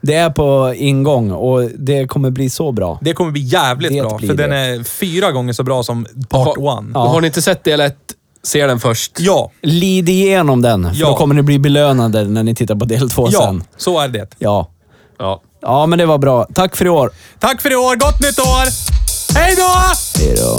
Det är på ingång och det kommer bli så bra.
Det kommer bli jävligt
Det
bra,
blir
för den
det.
är fyra gånger så bra som part
Ha-
one.
Och Har ni inte sett del 1, se den först.
Ja,
Lid igenom den, för
Ja.
då kommer ni bli belönade när ni tittar på del två
ja,
sen.
så är det.
Ja.
Ja.
ja, men det var bra. Tack för i år.
Tack för i år, gott nytt år! Hej då!
Hej då.